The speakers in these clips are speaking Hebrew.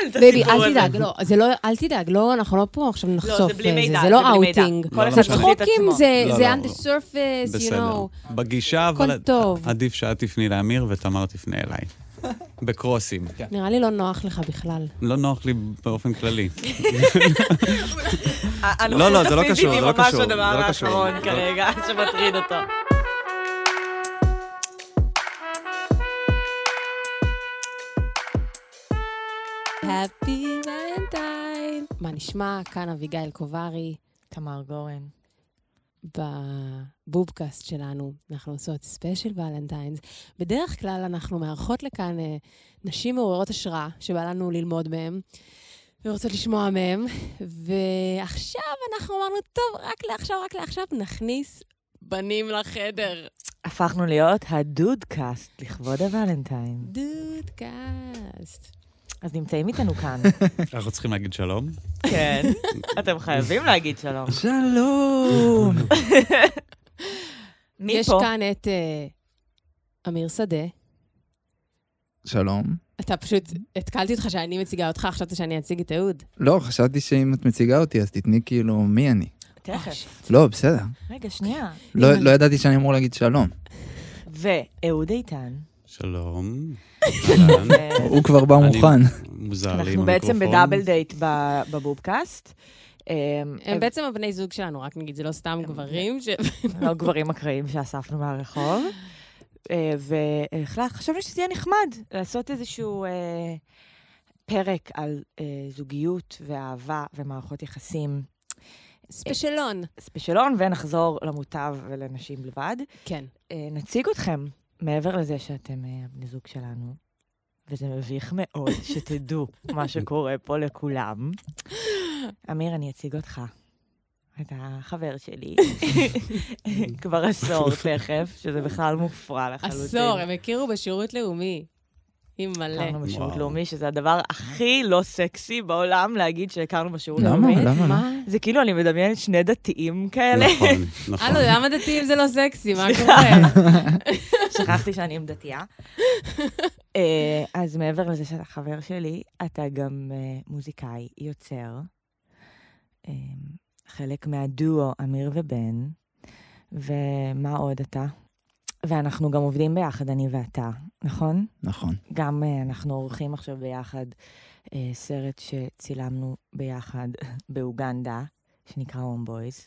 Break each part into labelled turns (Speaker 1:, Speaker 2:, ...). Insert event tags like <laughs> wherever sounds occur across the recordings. Speaker 1: את
Speaker 2: בייבי,
Speaker 1: הסיפור הזה.
Speaker 2: אל תדאג, לא, זה לא, אל תדאג, לא, אנחנו לא פה עכשיו נחשוף.
Speaker 1: לא, זה בלי
Speaker 2: אה,
Speaker 1: מידע,
Speaker 2: זה
Speaker 1: זה
Speaker 2: לא
Speaker 1: בלי מידע.
Speaker 2: אאוטינג.
Speaker 1: כל
Speaker 3: לא,
Speaker 1: אחד
Speaker 2: זה
Speaker 3: לא.
Speaker 1: מחזיר את
Speaker 2: צחוקים,
Speaker 1: עצמו.
Speaker 2: זה
Speaker 3: לא,
Speaker 2: זה
Speaker 3: לא,
Speaker 2: on
Speaker 3: לא.
Speaker 2: the surface, you
Speaker 3: בסדר.
Speaker 2: know.
Speaker 3: בגישה,
Speaker 2: הכל
Speaker 3: אבל
Speaker 2: טוב.
Speaker 3: עדיף שאת תפני לאמיר ותמר תפנה אליי.
Speaker 1: <laughs>
Speaker 3: בקרוסים.
Speaker 1: כן.
Speaker 2: נראה לי לא נוח לך בכלל.
Speaker 3: לא נוח לי באופן כללי.
Speaker 1: הנוכחות
Speaker 4: לא, זה לא
Speaker 1: הפיזית
Speaker 4: קשור,
Speaker 1: היא
Speaker 4: זה לא
Speaker 1: ממש
Speaker 4: קשור,
Speaker 1: הדבר
Speaker 4: זה לא קשור.
Speaker 1: האחרון
Speaker 4: לא.
Speaker 1: כרגע <laughs> שמטריד אותו.
Speaker 2: Happy Valentine. מה נשמע? כאן אביגיל קוברי
Speaker 1: תמר גורן.
Speaker 2: בבובקאסט שלנו. אנחנו עושות ספיישל ולנטיינס. בדרך כלל אנחנו מארחות לכאן אה, נשים מעוררות השראה, שבא לנו ללמוד מהן ורוצות לשמוע מהן, ועכשיו אנחנו אמרנו, טוב, רק לעכשיו, רק לעכשיו, נכניס בנים לחדר.
Speaker 1: הפכנו להיות הדודקאסט לכבוד הוולנטיין.
Speaker 2: דודקאסט.
Speaker 1: אז נמצאים איתנו כאן.
Speaker 3: אנחנו צריכים להגיד שלום.
Speaker 1: <laughs> כן. אתם חייבים להגיד שלום.
Speaker 4: שלום.
Speaker 1: מי
Speaker 2: יש
Speaker 1: פה?
Speaker 2: כאן את אה, אמיר שדה.
Speaker 5: שלום.
Speaker 2: אתה פשוט, התקלתי אותך שאני מציגה אותך, חשבת שאני אציג את אהוד.
Speaker 5: לא, חשבתי שאם את מציגה אותי, אז תתני כאילו מי אני.
Speaker 1: תכף.
Speaker 2: אוקיי.
Speaker 5: לא, בסדר.
Speaker 1: רגע, שנייה.
Speaker 5: לא
Speaker 2: אני-
Speaker 5: לא ידעתי שאני אמור להגיד שלום.
Speaker 1: ואהוד
Speaker 4: <laughs>
Speaker 1: איתן.
Speaker 3: שלום.
Speaker 1: <laughs> ו-
Speaker 5: הוא כבר בא
Speaker 3: אני-
Speaker 5: מוכן.
Speaker 3: מוזר לי עם
Speaker 1: אנחנו
Speaker 3: המיקרופון.
Speaker 1: בעצם בדאבל דייט ב- בבובקאסט. אמ,
Speaker 2: הם בעצם הבני זוג שלנו, רק נגיד, זה לא סתם גברים ש...
Speaker 1: לא גברים אקראיים שאספנו מהרחוב. וחשבנו שזה יהיה נחמד לעשות איזשהו אה, פרק על אה, זוגיות ואהבה ומערכות יחסים.
Speaker 2: ספיישלון.
Speaker 1: ספיישלון, ונחזור למוטב ולנשים בלבד.
Speaker 2: כן.
Speaker 1: אה, נציג אתכם, מעבר לזה שאתם אה, הבני זוג שלנו, וזה מביך מאוד <laughs> שתדעו מה שקורה פה לכולם. אמיר, אני אציג אותך. אתה חבר שלי, כבר עשור תכף, שזה בכלל מופרע לחלוטין.
Speaker 2: עשור, הם הכירו בשירות לאומי. היא מלא.
Speaker 1: הכרנו בשירות
Speaker 3: וואו.
Speaker 1: לאומי, שזה הדבר הכי לא סקסי בעולם להגיד שהכרנו בשירות
Speaker 5: למה?
Speaker 1: לאומי.
Speaker 5: למה לא?
Speaker 2: מה?
Speaker 1: זה כאילו, אני מדמיינת שני דתיים כאלה. <laughs>
Speaker 3: נכון, נכון.
Speaker 2: הלו, למה דתיים זה לא סקסי? מה קורה?
Speaker 1: שכחתי שאני עם דתייה. אה, אז מעבר לזה שאתה חבר שלי, אתה גם אה, מוזיקאי, יוצר, אה, חלק מהדואו אמיר ובן, ומה עוד אתה? ואנחנו גם עובדים ביחד, אני ואתה, נכון?
Speaker 5: נכון.
Speaker 1: גם אה, אנחנו עורכים עכשיו ביחד אה, סרט שצילמנו ביחד <laughs> באוגנדה, שנקרא הום בויז,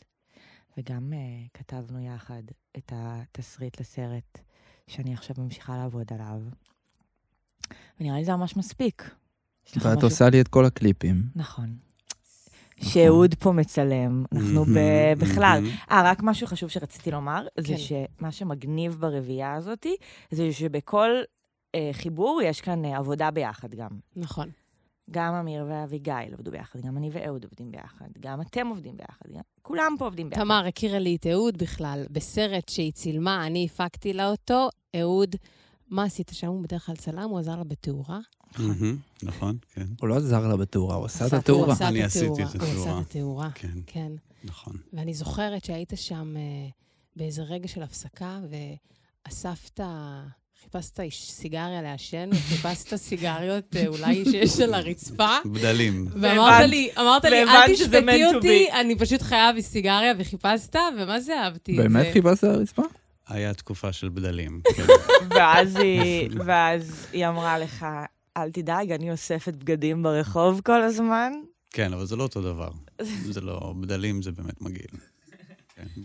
Speaker 1: וגם אה, כתבנו יחד את התסריט לסרט שאני עכשיו ממשיכה לעבוד עליו. ונראה לי זה ממש מספיק. יש לך
Speaker 5: ואת
Speaker 1: משהו-
Speaker 5: עושה לי את כל הקליפים.
Speaker 1: נכון. שאהוד פה מצלם, אנחנו ב-
Speaker 3: מהמם,
Speaker 1: בכלל.
Speaker 3: מהמם.
Speaker 1: אה, רק משהו חשוב שרציתי לומר, זה
Speaker 2: כן.
Speaker 1: שמה שמגניב ברביעייה הזאתי, זה שבכל אה, חיבור יש כאן אה, עבודה ביחד גם.
Speaker 2: נכון.
Speaker 1: גם אמיר ואביגיל עבדו ביחד, גם אני ואהוד עובדים ביחד, גם אתם עובדים ביחד, גם... כולם פה עובדים ביחד.
Speaker 2: תמר הכירה לי את אהוד בכלל בסרט שהיא צילמה, אני הפקתי לה אותו. אהוד, מה עשית שם? הוא בדרך כלל צלם, הוא עזר לה בתאורה.
Speaker 3: מהמם, נכון, כן,
Speaker 5: הוא לא עזר לה בתאורה, הוא עשה את
Speaker 2: הוא
Speaker 5: התאורה.
Speaker 2: עשה את
Speaker 3: אני עשיתי
Speaker 2: התאורה,
Speaker 3: את
Speaker 2: הוא
Speaker 3: התאורה.
Speaker 2: עשה את
Speaker 1: אה.
Speaker 2: התאורה,
Speaker 3: כן,
Speaker 2: כן.
Speaker 3: נכון.
Speaker 2: ואני זוכרת שהיית שם אה, באיזה רגע של הפסקה, ואספת, חיפשת איש- סיגריה לעשן, וחיפשת סיגריות אה, אולי שיש על
Speaker 3: <laughs>
Speaker 2: הרצפה.
Speaker 1: אה.
Speaker 3: בדלים.
Speaker 2: ואמרת לי, אמרת לי, אל
Speaker 1: והבנת שזה
Speaker 2: תשפטי
Speaker 1: meant to
Speaker 2: אותי, אני פשוט חייב סיגריה, וחיפשת, ומה זה אהבתי את זה.
Speaker 5: באמת חיפשת על הרצפה?
Speaker 3: היה תקופה של
Speaker 1: <laughs>
Speaker 3: בדלים.
Speaker 1: <laughs> ואז היא, ואז היא אמרה לך, אל תדאג, אני אוספת בגדים ברחוב כל הזמן.
Speaker 3: כן, אבל זה לא אותו דבר. זה לא, בדלים זה באמת מגעיל.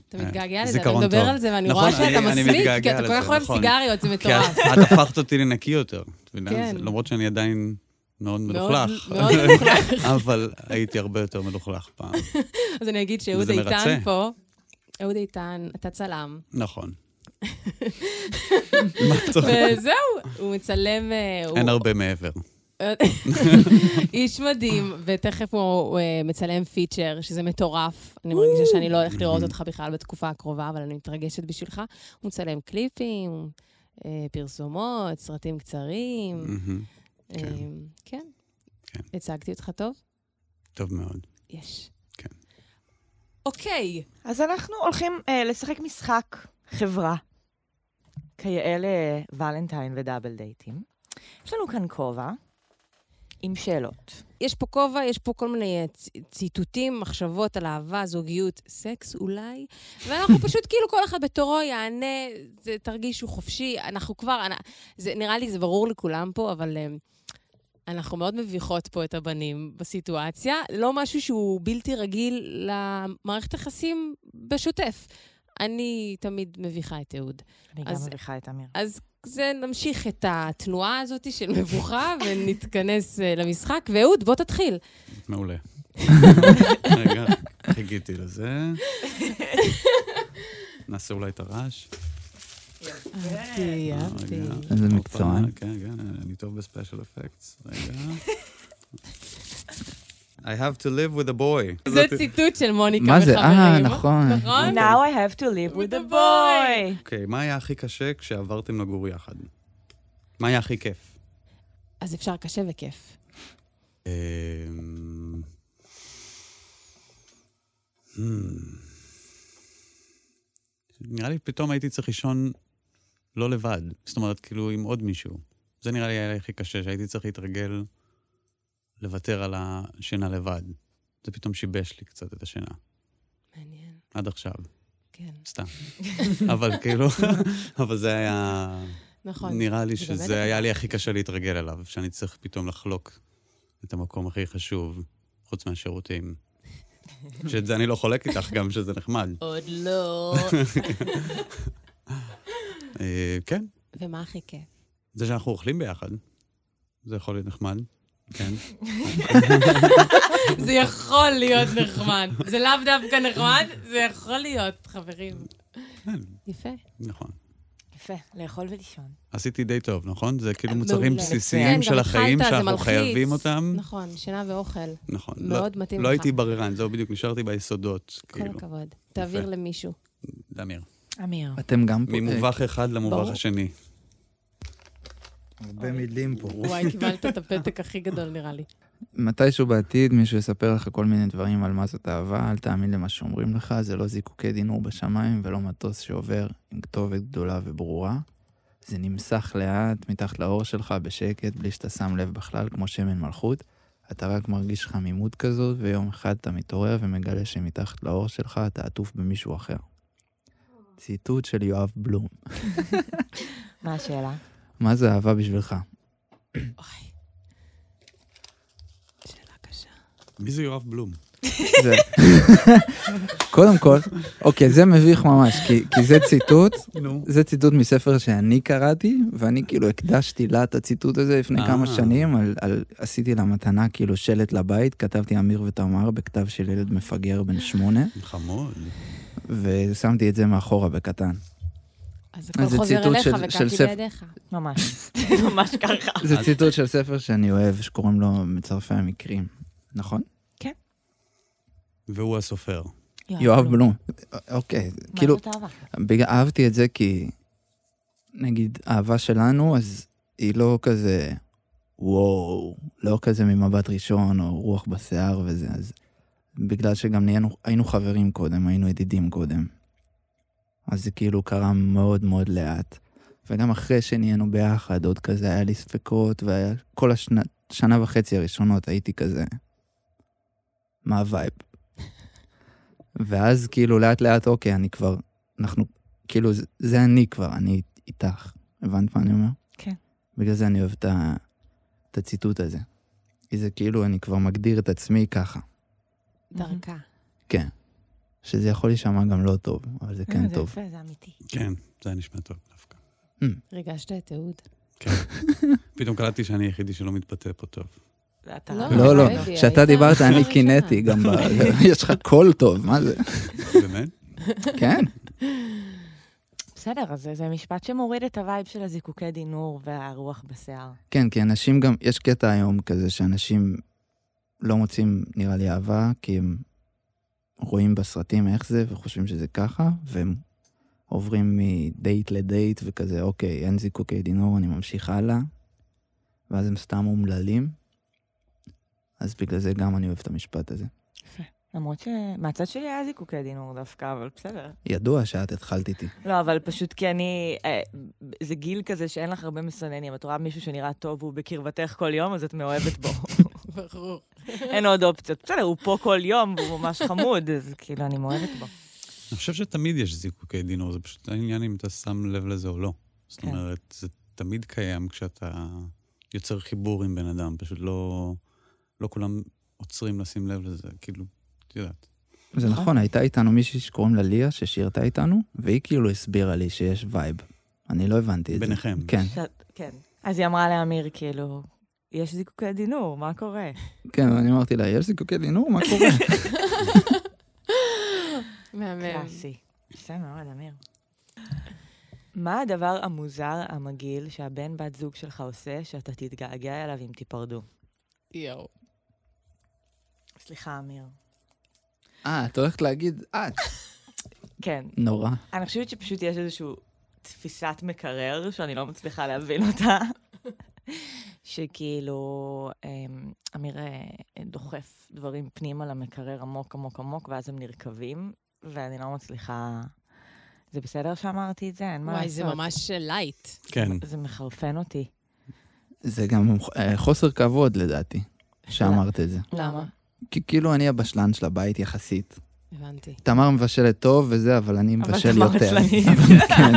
Speaker 2: אתה מתגעגע לזה, אתה
Speaker 3: זיכרון
Speaker 2: מדבר
Speaker 3: טוב.
Speaker 2: על זה, ואני
Speaker 3: נכון,
Speaker 2: רואה שאתה
Speaker 3: אני- אני
Speaker 2: מסמיק, כי
Speaker 3: מתגעגע
Speaker 2: אתה כל
Speaker 3: לזה,
Speaker 2: כך אוהב
Speaker 3: נכון.
Speaker 2: סיגריות, זה
Speaker 3: כי
Speaker 2: מטורף.
Speaker 3: את את הפכת אותי לנקי יותר. את מבינה?
Speaker 2: כן.
Speaker 3: זה- למרות שאני עדיין מאוד
Speaker 2: מאוד
Speaker 3: מלוכלך. <laughs>
Speaker 2: מאוד מוכלח.
Speaker 3: אבל הייתי הרבה יותר מלוכלך פעם.
Speaker 2: אז אני אגיד שאהוד
Speaker 3: וזה
Speaker 2: איתן
Speaker 3: מרצה.
Speaker 2: פה, אהוד איתן, אתה צלם, <laughs>
Speaker 3: נכון. מה צריך?
Speaker 2: וזהו, הוא מצלם, אה, הוא
Speaker 3: אין הרבה מעבר.
Speaker 2: <laughs> איש מדהים, ותכף הוא, הוא אה, מצלם פיצ'ר, שזה מטורף. אני מרגישה שאני לא הולכת לראות אותך בכלל בתקופה הקרובה, אבל אני מתרגשת בשבילך. הוא מצלם קליפים, אה, פרסומות, סרטים קצרים.
Speaker 3: מהמם.
Speaker 2: אה, כן.
Speaker 3: Mm, כן.
Speaker 2: הצגתי אותך טוב?
Speaker 3: טוב מאוד.
Speaker 2: יש.
Speaker 3: כן.
Speaker 2: אוקיי.
Speaker 1: אז אנחנו הולכים אה, לשחק משחק חברה, כיאה לוולנטיין ודאבל דייטים. יש לנו כאן כובע, עם שאלות.
Speaker 2: יש פה כובע, יש פה כל מיני אה, צ- ציטוטים, מחשבות על אהבה, זוגיות, סקס אולי, ואנחנו פשוט כאילו כל אחד בתורו יענה, זה, תרגישו חופשי, אנחנו כבר, אנ- זה, נראה לי זה ברור לכולם פה, אבל אה, אנחנו מאוד מביכות פה את הבנים בסיטואציה, לא משהו שהוא בלתי רגיל למערכת יחסים בשוטף. אני תמיד מביכה את אהוד.
Speaker 1: אני גם
Speaker 2: אז-
Speaker 1: מביכה את אמיר.
Speaker 2: אז זה, נמשיך את התנועה הזאת של מבוכה ונתכנס אה, למשחק. ואהוד, בוא תתחיל. <laughs>
Speaker 3: מעולה. רגע, חיכיתי לזה. נעשה אולי את הרעש.
Speaker 2: אהבתי, אהבתי.
Speaker 3: אה, רגע.
Speaker 5: איזה
Speaker 3: הופה,
Speaker 5: מקצוען.
Speaker 3: כן, כן, אני טוב בספיישל אפקטס.
Speaker 2: <laughs>
Speaker 3: רגע. I have to live with a boy.
Speaker 2: זה ציטוט של מוניקה
Speaker 5: מה זה? אה,
Speaker 2: וחברים.
Speaker 5: נכון.
Speaker 2: נכון?
Speaker 1: Now I have to live אוקיי. with
Speaker 2: With a
Speaker 1: a boy.
Speaker 3: אוקיי, מה היה הכי קשה כשעברתם לגור יחד? מה היה הכי כיף?
Speaker 2: אז אפשר קשה וכיף.
Speaker 3: אמ, אמ, נראה לי פתאום הייתי צריך לישון לא לבד. זאת אומרת, כאילו, עם עוד מישהו. זה נראה לי היה הכי קשה, שהייתי צריך להתרגל לוותר על השינה לבד. זה פתאום שיבש לי קצת את השינה,
Speaker 2: מעניין,
Speaker 3: עד עכשיו,
Speaker 2: כן.
Speaker 3: סתם. אבל כאילו, <laughs> אבל זה היה...
Speaker 2: נכון.
Speaker 3: נראה לי
Speaker 2: זה באמת
Speaker 3: שזה היה לי הכי קשה להתרגל אליו, שאני צריך פתאום לחלוק את המקום הכי חשוב,
Speaker 2: <laughs>
Speaker 3: חוץ מהשירותים. שאת זה אני לא חולק איתך גם, שזה נחמד.
Speaker 2: עוד לא.
Speaker 3: אה, כן,
Speaker 2: <laughs> ומה הכי כיף?
Speaker 3: זה שאנחנו אוכלים ביחד, זה יכול להיות נחמד.
Speaker 2: <laughs>
Speaker 3: כן.
Speaker 2: זה יכול להיות נחמד. זה לאו דווקא נחמד, זה יכול להיות, חברים.
Speaker 3: כן,
Speaker 2: יפה.
Speaker 3: נכון.
Speaker 1: יפה, לאכול ולישון.
Speaker 3: עשיתי די טוב, נכון? זה כאילו
Speaker 2: מעולה.
Speaker 3: מוצרים
Speaker 2: כן,
Speaker 3: בסיסיים
Speaker 2: גם
Speaker 3: של החיים
Speaker 2: אכלת, זה
Speaker 3: שאנחנו
Speaker 2: מלחיץ.
Speaker 3: חייבים אותם.
Speaker 2: נכון, שינה ואוכל.
Speaker 3: נכון. לא-
Speaker 2: מאוד מתאים לך.
Speaker 3: לא הייתי בררן, זהו בדיוק, נשארתי ביסודות,
Speaker 2: כל
Speaker 3: כאילו.
Speaker 2: הכבוד. תעביר למישהו.
Speaker 3: אמיר.
Speaker 1: אמיר.
Speaker 5: אתם גם פה.
Speaker 3: ממובך אחד למובך
Speaker 2: ברור.
Speaker 3: השני.
Speaker 5: אה, הרבה מילים פה.
Speaker 2: וואי, קיבלת את הפתק הכי גדול, נראה לי.
Speaker 5: מתישהו בעתיד מישהו יספר לך כל מיני דברים על מה זאת אהבה, אל תאמין למה שאומרים לך, זה לא זיקוקי דינור בשמיים ולא מטוס שעובר עם כתובת גדולה וברורה. זה נמסך לאט מתחת לאור שלך בשקט, בלי שאתה שם לב בכלל, כמו שמן מלכות. אתה רק מרגיש חמימות כזאת, ויום אחד אתה מתעורר ומגלה שמתחת לאור שלך אתה עטוף במישהו אחר. ציטוט של יואב בלום.
Speaker 1: מה השאלה?
Speaker 5: מה זה אהבה בשבילך?
Speaker 2: אוי. שאלה קשה.
Speaker 3: מי זה יואב בלום?
Speaker 5: זה... <laughs> קודם כל, אוקיי, זה מביך ממש, כי, כי זה ציטוט,
Speaker 3: נו.
Speaker 5: זה ציטוט מספר שאני קראתי, ואני כאילו הקדשתי לה את הציטוט הזה לפני
Speaker 3: אה.
Speaker 5: כמה שנים, על, על, עשיתי לה מתנה כאילו שלט לבית, כתבתי אמיר ותמר בכתב של ילד מפגר בן שמונה,
Speaker 3: חמוד.
Speaker 5: ושמתי את זה מאחורה בקטן.
Speaker 2: אז
Speaker 5: אז
Speaker 2: הכל
Speaker 5: זה
Speaker 2: חוזר
Speaker 5: ציטוט
Speaker 2: אליך
Speaker 5: של- של
Speaker 2: וקמתי
Speaker 5: ספר.
Speaker 2: בידיך.
Speaker 1: ממש. <laughs> ממש ככה.
Speaker 5: זה ציטוט של ספר שאני אוהב, שקוראים לו מצרפי המקרים, נכון?
Speaker 3: והוא הסופר.
Speaker 5: יואב בלום. אוקיי, כאילו,
Speaker 1: מה זאת אהבה?
Speaker 5: בגלל, אהבתי את זה כי, נגיד, אהבה שלנו, אז היא לא כזה, וואו, לא כזה ממבט ראשון, או רוח בשיער וזה, אז בגלל שגם נהיינו, היינו חברים קודם, היינו ידידים קודם. אז זה כאילו קרה מאוד מאוד לאט. וגם אחרי שנהיינו ביחד, עוד כזה היה לי ספקות, והיה כל השנה שנה וחצי הראשונות הייתי כזה, מה הווייב? <laughs> ואז כאילו לאט לאט, אוקיי, אני כבר אנחנו, כאילו, זה, זה אני כבר, אני איתך. הבנת מה אני אומר?
Speaker 1: כן.
Speaker 5: בגלל זה אני אוהב את, ה, את הציטוט הזה. כי זה כאילו, אני כבר מגדיר את עצמי ככה.
Speaker 2: דרכה.
Speaker 5: שזה יכול להישמע גם לא טוב, אבל זה כן
Speaker 1: אה, זה
Speaker 5: טוב.
Speaker 1: יפה, זה אמיתי.
Speaker 3: כן, זה היה נשמע טוב דווקא.
Speaker 2: ריגשת את אהוד.
Speaker 3: פתאום קלטתי שאני היחידי שלא מתבטא פה טוב.
Speaker 5: <laughs>
Speaker 1: אתה-
Speaker 2: לא,
Speaker 5: לא, לא,
Speaker 1: אוקיי.
Speaker 2: אהבתי,
Speaker 5: כשאתה
Speaker 2: היית
Speaker 5: דיברת אני
Speaker 1: <laughs>
Speaker 2: הראשונה.
Speaker 5: קינאתי גם ב... <laughs> יש לך קול טוב, מה זה?
Speaker 3: באמת?
Speaker 5: כן.
Speaker 1: בסדר, אז זה- זה משפט שמוריד את הווייב של הזיקוקי דינור והרוח בשיער.
Speaker 5: כן, כי אנשים גם, יש קטע היום כזה שאנשים לא מוצאים, נראה לי, אהבה, כי הם רואים בסרטים איך זה וחושבים שזה ככה, והם עוברים מדייט לדייט וכזה, אוקיי, אין זיקוקי דינור, אני ממשיך הלאה, ואז הם סתם אומללים. אז בגלל זה גם אני אוהב את המשפט הזה.
Speaker 1: למרות שמהצד שלי היה זיקוקי דינור דווקא, אבל בסדר.
Speaker 5: ידוע שאת התחלת איתי.
Speaker 1: לא, אבל פשוט כי אני... אה, זה גיל כזה שאין לך הרבה מסננים. את רואה מישהו שנראה טוב, הוא בקרבתך כל יום, אז את מאוהבת <laughs> בו.
Speaker 2: ברור.
Speaker 1: אין עוד אופציות. בסדר, הוא פה כל יום, והוא ממש חמוד, אז כאילו, אני מאוהבת בו.
Speaker 3: אני חושב שתמיד יש זיקוקי דינור, זה פשוט העניין אם אתה שם לב לזה או לא. זאת
Speaker 1: כן.
Speaker 3: אומרת, זה תמיד קיים כשאתה יוצר חיבור עם בן אדם, פשוט לא, לא כולם עוצרים לשים לב לזה, כאילו, את יודעת.
Speaker 5: זה נכון, הייתה איתנו מישהי שקוראים לה ליה, ששירתה איתנו, והיא כאילו הסבירה לי שיש וייב. אני לא הבנתי את זה.
Speaker 3: ביניכם.
Speaker 5: כן,
Speaker 1: <laughs> שאת- כן. אז היא אמרה לאמיר, כאילו, יש זיקוקי דינור, מה קורה?
Speaker 5: כן, ואני אמרתי לה, יש זיקוקי דינור? מה קורה?
Speaker 2: מהמם.
Speaker 1: קלאסי. יפה מאוד, אמיר. מה הדבר המוזר, המגעיל, שהבן בת זוג שלך עושה, שאתה תתגעגע אליו אם תיפרדו?
Speaker 2: יואו.
Speaker 1: סליחה, אמיר.
Speaker 5: אה, את הולכת להגיד, את.
Speaker 1: כן,
Speaker 5: נורא.
Speaker 1: אני חושבת שפשוט יש איזושהי תפיסת מקרר שאני לא מצליחה להבין
Speaker 2: <laughs>
Speaker 1: אותה, שכאילו, אמ, אמיר אה, דוחף דברים פנימה למקרר עמוק עמוק עמוק, ואז הם נרקבים, ואני לא מצליחה... זה בסדר שאמרתי את זה? אין מה
Speaker 2: וואי,
Speaker 1: לעשות.
Speaker 2: זה ממש אה, לייט.
Speaker 3: כן.
Speaker 1: זה מחרפן אותי.
Speaker 5: זה גם אה, חוסר כבוד, לדעתי, שאמרת את זה.
Speaker 2: למה?
Speaker 5: כי כאילו אני הבשלן של הבית יחסית.
Speaker 2: הבנתי.
Speaker 5: תמר מבשלת טוב וזה, אבל אני
Speaker 1: אבל
Speaker 5: מבשל
Speaker 1: תמר
Speaker 5: יותר.
Speaker 1: עצלנית.
Speaker 5: <laughs> אבל כן.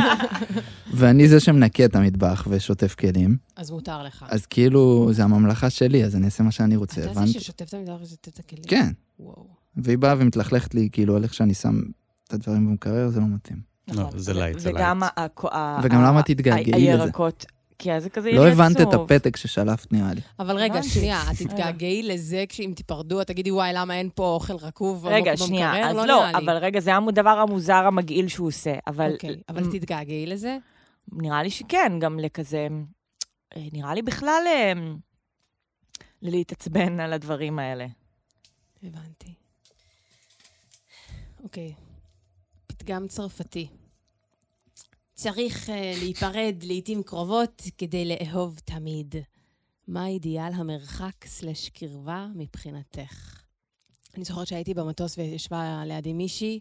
Speaker 5: ואני זה שמנקה את המטבח ושוטף כלים,
Speaker 2: אז מותר לך.
Speaker 5: אז כאילו, זה הממלכה שלי, אז אני אעשה מה שאני רוצה,
Speaker 2: אתה זה
Speaker 5: הבנת?
Speaker 2: ששוטף את המדבר ושוטף את הכלים?
Speaker 5: כן,
Speaker 2: וואו.
Speaker 5: והיא באה ומתלכלכת לי, כאילו, על איך שאני שם את הדברים במקרר, זה לא מתאים.
Speaker 3: לא,
Speaker 1: נכון.
Speaker 3: זה לייט, זה
Speaker 1: וגם
Speaker 3: לייט.
Speaker 1: הכו- ה-
Speaker 5: וגם
Speaker 1: ה-
Speaker 5: למה תתגעגעי
Speaker 1: ה-
Speaker 5: לזה?
Speaker 1: הירקות, כי אז זה כזה
Speaker 5: לא
Speaker 1: יהיה
Speaker 5: הבנת את
Speaker 1: עצוב.
Speaker 5: הפתק ששלפת, נראה לי.
Speaker 2: אבל <laughs> רגע,
Speaker 1: הבנתי.
Speaker 2: שנייה, את תתגעגעי לזה כשאם תיפרדו, את תגידי, וואי, למה אין פה אוכל רקוב עמוק
Speaker 1: רגע,
Speaker 2: במקרר?
Speaker 1: שנייה, אז
Speaker 2: לא
Speaker 1: לא,
Speaker 2: נראה לי.
Speaker 1: אבל רגע, זה הדבר המוזר המגעיל שהוא עושה, אבל
Speaker 2: אוקיי, אבל תתגעגעי לזה?
Speaker 1: נראה לי שכן, גם לכזה... אה, נראה לי בכלל אה, להתעצבן על הדברים האלה.
Speaker 2: הבנתי. אוקיי. פתגם צרפתי. צריך אה, להיפרד לעיתים קרובות כדי לאהוב תמיד. מה אידיאל המרחק/קרבה מבחינתך? אני זוכרת שהייתי במטוס וישבה לידי מישהי,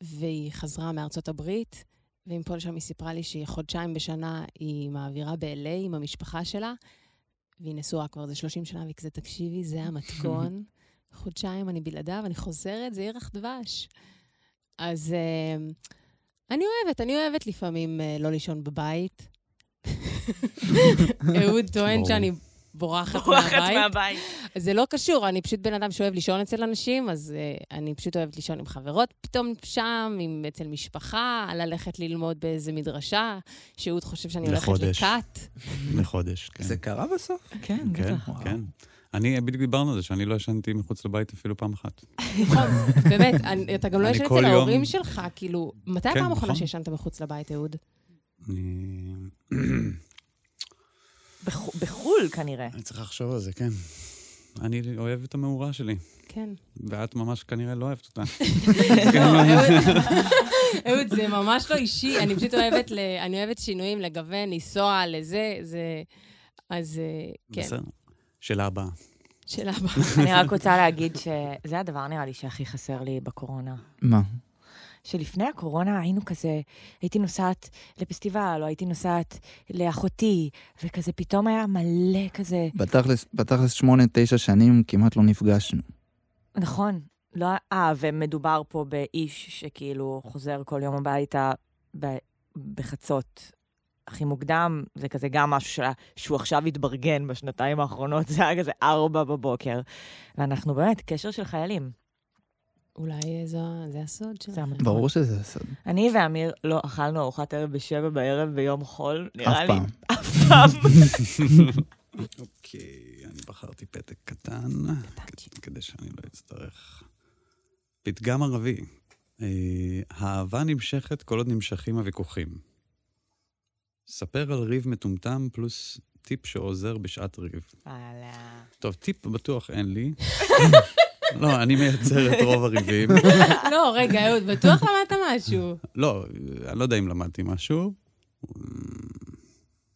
Speaker 2: והיא חזרה מארצות הברית, ועם כל שם היא סיפרה לי שהיא חודשיים בשנה היא מעבירה ב-LA עם המשפחה שלה, והיא נשואה כבר איזה 30 שנה, והיא כזה, תקשיבי, זה המתכון. חודשיים אני בלעדיו, אני חוזרת, זה ירח דבש. אז אה, אני אוהבת, אני אוהבת לפעמים אה, לא לישון
Speaker 3: <laughs>
Speaker 2: בבית. אהוד טוען
Speaker 3: ברור.
Speaker 2: שאני
Speaker 1: <laughs>
Speaker 2: בורחת
Speaker 1: בורחת
Speaker 2: מהבית.
Speaker 1: מהבית.
Speaker 2: אז זה לא קשור, אני פשוט בן אדם שאוהב לישון אצל אנשים, אז uh, אני פשוט אוהבת לישון עם חברות פתאום שם, עם, אצל משפחה, ללכת ללמוד באיזה מדרשה, שאהוד חושב שאני הולכת
Speaker 3: לחודש.
Speaker 2: לכת.
Speaker 3: לחודש, כן.
Speaker 5: זה קרה בסוף?
Speaker 1: כן,
Speaker 3: כן,
Speaker 1: בטח.
Speaker 3: כן. אני, בדיוק דיברנו על זה, שאני לא ישנתי מחוץ לבית אפילו פעם אחת.
Speaker 2: נכון, באמת, אני, אתה גם לא
Speaker 3: אני
Speaker 2: ישן
Speaker 3: כל
Speaker 2: אצל
Speaker 3: יום-
Speaker 2: ההורים שלך, כאילו, מתי
Speaker 3: כן,
Speaker 2: הפעם האחרונה
Speaker 3: נכון.
Speaker 2: שישנת מחוץ לבית, אהוד?
Speaker 3: אני...
Speaker 1: בח- בחו"ל <laughs> כנראה.
Speaker 3: אני צריך לחשוב על זה, כן. אני אוהב את המאורה שלי,
Speaker 2: כן.
Speaker 3: ואת ממש כנראה לא אוהבת אותה.
Speaker 2: לא, אהוד- <laughs> אהוד, זה ממש לא אישי, אני פשוט אוהבת, ל- אני אוהבת שינויים, לגוון, לנסוע, לזה, זה... אז אה, כן,
Speaker 3: בסדר. שאלה הבאה.
Speaker 2: שאלה הבאה.
Speaker 1: אני רק רוצה להגיד שזה הדבר, נראה לי, שהכי חסר לי בקורונה.
Speaker 5: מה?
Speaker 1: שלפני הקורונה היינו כזה, הייתי נוסעת לפסטיבל, או הייתי נוסעת לאחותי, וכזה פתאום היה מלא כזה,
Speaker 5: בתכלס, בתכלס שמונה, תשע שנים כמעט לא נפגשנו.
Speaker 1: נכון, לא, אה, ומדובר פה באיש שכאילו חוזר כל יום הביתה ב, בחצות הכי מוקדם, זה כזה גם משהו שלה, שהוא עכשיו התברגן בשנתיים האחרונות, זה היה כזה ארבע בבוקר, ואנחנו באמת קשר של חיילים.
Speaker 2: אולי זו- זה הסוד שלך.
Speaker 1: המתכון.
Speaker 5: ברור שזה סוד,
Speaker 1: אני ואמיר לא אכלנו ארוחת ערב בשבע בערב ביום חול,
Speaker 5: אף
Speaker 1: נראה לי.
Speaker 5: פעם.
Speaker 1: אף
Speaker 5: <laughs>
Speaker 1: פעם.
Speaker 3: אוקיי, אני בחרתי פתק קטן, כ- כדי שאני לא אצטרך. פתגם ערבי, אה, האהבה נמשכת כל עוד נמשכים הוויכוחים. ספר על ריב מטומטם פלוס טיפ שעוזר בשעת ריב.
Speaker 1: וואלה.
Speaker 3: טוב, טיפ בטוח אין לי. לא, אני מייצר את רוב הריבים.
Speaker 2: לא, רגע, אהוד, בטוח למדת משהו.
Speaker 3: לא, אני לא יודע אם למדתי משהו.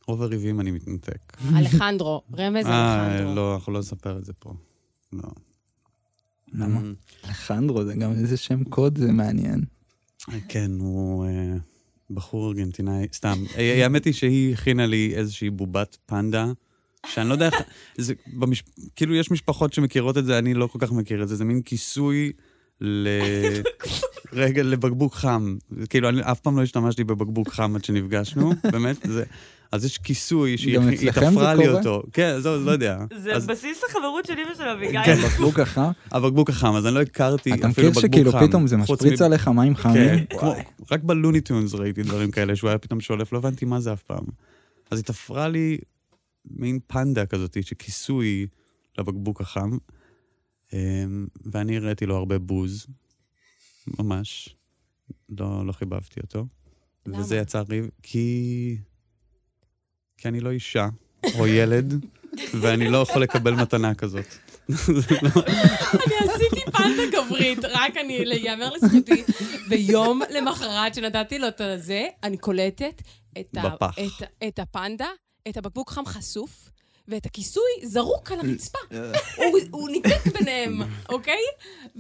Speaker 3: רוב הריבים אני מתנתק. אה,
Speaker 2: אלחנדרו, רמז אלחנדרו.
Speaker 3: לא, אנחנו לא נספר את זה פה. לא.
Speaker 5: למה? אלחנדרו זה גם איזה שם קוד, זה
Speaker 1: <laughs>
Speaker 5: מעניין.
Speaker 3: כן, הוא אה, בחור ארגנטינאי, סתם. אה, האמת היא שהיא הכינה לי איזושהי בובת פנדה, שאני לא יודע איך... זה במש... כאילו, יש משפחות שמכירות את זה, אני לא כל כך מכיר את זה. זה מין כיסוי ל... רגע, לבקבוק חם. כאילו, אני אף פעם לא השתמשתי בבקבוק חם עד שנפגשנו, באמת. זה... אז יש כיסוי שהיא
Speaker 5: גם
Speaker 3: היא
Speaker 5: אצלכם זה
Speaker 3: תפרה לי
Speaker 5: קורה?
Speaker 3: אותו. כן, זהו, לא יודע.
Speaker 1: זה
Speaker 3: אז
Speaker 1: בסיס החברות של אמא של
Speaker 5: כן,
Speaker 1: אביגיל.
Speaker 5: בקבוק
Speaker 3: <laughs>
Speaker 5: החם.
Speaker 3: הבקבוק החם, אז אני לא הכרתי
Speaker 5: אתה
Speaker 3: אפילו בקבוק חם.
Speaker 5: מכיר שכאילו פתאום זה
Speaker 3: חוץ
Speaker 5: משפריץ
Speaker 3: מב-
Speaker 5: עליך מים
Speaker 3: כן,
Speaker 5: חמים?
Speaker 3: כמו, רק בלוניטיונס ראיתי דברים כאלה, שהוא היה פתאום שולף, לא הבנתי מה זה אף פעם. אז היא תפרה לי מין פנדה כזאת, שכיסוי לבקבוק החם, אמ, ואני הראיתי לו הרבה בוז, ממש. לא, לא חיבבתי אותו.
Speaker 2: למה?
Speaker 3: וזה יצר ריב, כי... כי אני לא אישה או ילד, ואני לא יכול לקבל מתנה כזאת. זה לא-
Speaker 2: אני עשיתי פנדה גברית, רק אני, ייאמר לזכותי, ביום למחרת שנתתי לו את הזה, אני קולטת את, ה-
Speaker 3: בפח.
Speaker 2: את, את הפנדה, את הבקבוק חם חשוף. ואת הכיסוי זרוק על הרצפה.
Speaker 3: אה.
Speaker 2: הוא, הוא ניתק ביניהם, אוקיי?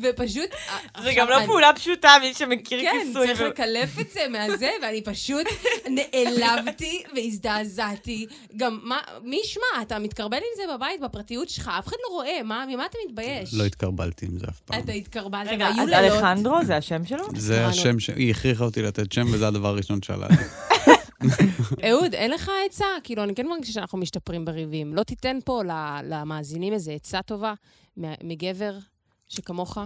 Speaker 2: ופשוט... אה,
Speaker 1: זה
Speaker 2: עכשיו
Speaker 1: גם לא
Speaker 2: אני-
Speaker 1: פעולה פשוטה, מי שמכיר
Speaker 2: כן,
Speaker 1: כיסוי.
Speaker 2: צריך לקלף את זה מהזה, ואני פשוט נעלבתי והזדעזעתי. גם מה, מי ישמע? אתה מתקרבן עם זה בבית, בפרטיות שלך, אף אחד לא רואה, מה, ממה אתה מתבייש?
Speaker 3: לא התקרבלתי עם זה אף פעם.
Speaker 2: אתה התקרבלת,
Speaker 1: רגע,
Speaker 2: והיו
Speaker 1: אז
Speaker 2: לילות.
Speaker 1: אלחנדרו זה השם שלו?
Speaker 3: זה
Speaker 2: קראנו.
Speaker 3: השם, ש- היא הכריחה אותי לתת שם, וזה הדבר הראשון שעלה
Speaker 5: <laughs>
Speaker 3: לי.
Speaker 2: אהוד, אין לך עצה? כאילו, אני כן מרגישה שאנחנו משתפרים בריבים. לא תיתן פה ל- למאזינים איזו עצה טובה מה- מגבר שכמוך?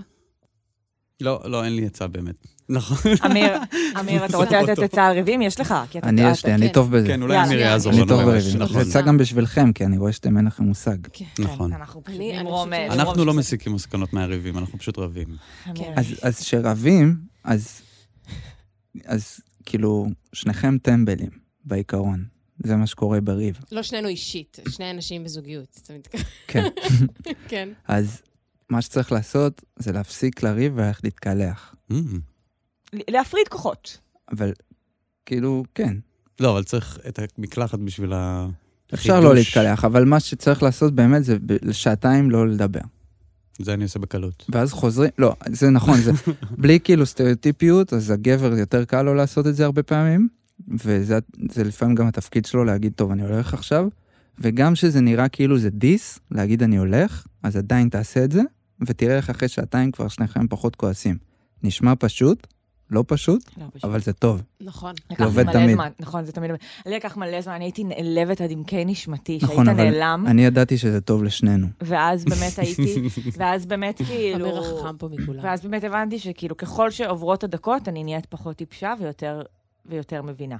Speaker 3: לא, לא, אין לי עצה באמת. נכון.
Speaker 1: <laughs> אמיר, אמיר, אתה רוצה לתת עצה על ריבים? יש לך. כי אתה-
Speaker 5: אני, יש לי,
Speaker 2: כן.
Speaker 5: אני טוב בזה.
Speaker 3: <laughs> כן, אולי
Speaker 1: יאללה.
Speaker 3: אמיר יעזור
Speaker 5: אני
Speaker 3: לנו.
Speaker 5: טוב
Speaker 3: באמת,
Speaker 5: בריבים.
Speaker 3: נכון,
Speaker 5: זה יצא
Speaker 2: למה?
Speaker 5: גם בשבילכם, כי אני רואה שאתם אין לכם מושג.
Speaker 3: נכון.
Speaker 1: כן, אנחנו פשוט
Speaker 2: אני- אני
Speaker 1: נמרום...
Speaker 2: חושבת
Speaker 5: אה,
Speaker 2: ש-
Speaker 3: אנחנו לא מסיקים מסקנות מהריבים, אנחנו פשוט רבים.
Speaker 1: אמיר,
Speaker 5: אז, אז שרבים, אז, אז כאילו, שניכם טמבלים, בעיקרון. זה מה שקורה בריב.
Speaker 2: לא שנינו אישית, שני אנשים בזוגיות. אתה מתכוון?
Speaker 1: <laughs>
Speaker 5: כן.
Speaker 2: <laughs> כן.
Speaker 5: אז מה שצריך לעשות זה להפסיק לריב וללכת להתקלח.
Speaker 3: Mm.
Speaker 1: להפריד כוחות.
Speaker 5: אבל כאילו, כן.
Speaker 3: לא, אבל צריך את המקלחת בשביל ה...
Speaker 5: אפשר לא
Speaker 3: חידוש.
Speaker 5: להתקלח, אבל מה שצריך לעשות באמת זה ב- שעתיים לא לדבר.
Speaker 3: זה אני עושה בקלות.
Speaker 5: ואז חוזרים, לא, זה נכון, זה בלי כאילו סטריאוטיפיות, אז הגבר יותר קל לו לעשות את זה הרבה פעמים, וזה זה לפעמים גם התפקיד שלו להגיד, טוב, אני הולך עכשיו, וגם שזה נראה כאילו זה דיס, להגיד אני הולך, אז עדיין תעשה את זה, ותראה איך אחרי שעתיים כבר שניכם פחות כועסים. נשמע פשוט, לא פשוט,
Speaker 1: לא, פשוט.
Speaker 5: אבל זה טוב.
Speaker 2: נכון.
Speaker 1: לקח
Speaker 5: זה
Speaker 1: לי
Speaker 5: עובד
Speaker 1: מלא
Speaker 5: תמיד.
Speaker 1: זמן, נכון, זה תמיד... לי לקח מלא זמן, אני הייתי נעלבת עד עמקי נשמתי, שהיית
Speaker 5: נכון, אבל-
Speaker 1: נעלם,
Speaker 5: אני ידעתי שזה טוב לשנינו.
Speaker 1: ואז
Speaker 5: <laughs>
Speaker 1: באמת הייתי, ואז באמת כאילו...
Speaker 2: אמיר החכם פה מכולם.
Speaker 1: ואז באמת הבנתי שכאילו ככל שעוברות הדקות, אני נהיית פחות טיפשה ויותר, ויותר מבינה.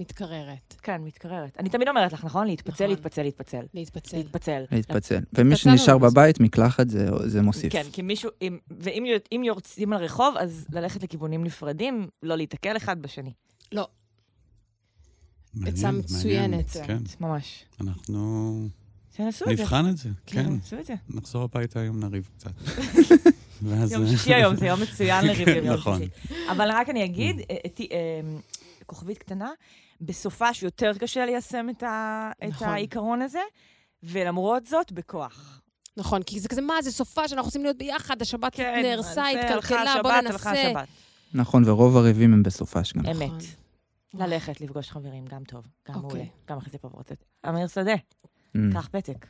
Speaker 2: מתקררת.
Speaker 1: כן, מתקררת. אני תמיד אומרת לך, נכון? להתפצל,
Speaker 2: נכון.
Speaker 1: להתפצל, להתפצל.
Speaker 2: להתפצל.
Speaker 1: להתפצל.
Speaker 5: להתפצל. ומי
Speaker 2: התפצלנו
Speaker 5: שנשאר
Speaker 2: בזמן.
Speaker 5: בבית, מקלחת זה, זה מוסיף.
Speaker 1: כן, כי מישהו, אם, ואם יו- אם יורצים על רחוב, אז ללכת לכיוונים נפרדים, לא להיתקל אחד בשני.
Speaker 2: לא,
Speaker 3: מעניין,
Speaker 2: עצה
Speaker 3: מעניין.
Speaker 2: מצוינת.
Speaker 3: כן,
Speaker 1: ממש.
Speaker 3: אנחנו
Speaker 1: תנסו את זה.
Speaker 3: נבחן את זה,
Speaker 1: כן,
Speaker 3: כן.
Speaker 1: תנסו את זה.
Speaker 3: נחזור הביתה היום נריב
Speaker 1: <laughs>
Speaker 3: קצת. ואז-
Speaker 1: יום שישי היום, זה יום מצוין לריבים, יום
Speaker 3: נכון.
Speaker 1: שישי. אבל רק אני אגיד, אה, אה, ת- אה, כוכבית קטנה, בסופש יותר קשה ליישם את ה- את
Speaker 2: נכון.
Speaker 1: העיקרון הזה, ולמרות זאת, בכוח.
Speaker 2: נכון, כי זה כזה, מה, זה סופה שאנחנו רוצים להיות ביחד, השבת
Speaker 1: כן,
Speaker 2: נהרסה,
Speaker 1: זה,
Speaker 2: התקלקלה,
Speaker 1: הלכה
Speaker 2: בוא
Speaker 1: השבת,
Speaker 2: ננסה.
Speaker 1: הלכה השבת.
Speaker 5: נכון, ורוב הריבים הם בסופש גם.
Speaker 1: אמת.
Speaker 2: נכון.
Speaker 1: ללכת, לפגוש חברים, גם טוב, גם
Speaker 2: אוקיי.
Speaker 1: מעולה, גם אחרי זה פרוצת. אמיר שדה,
Speaker 5: Mm.
Speaker 1: קח פתק.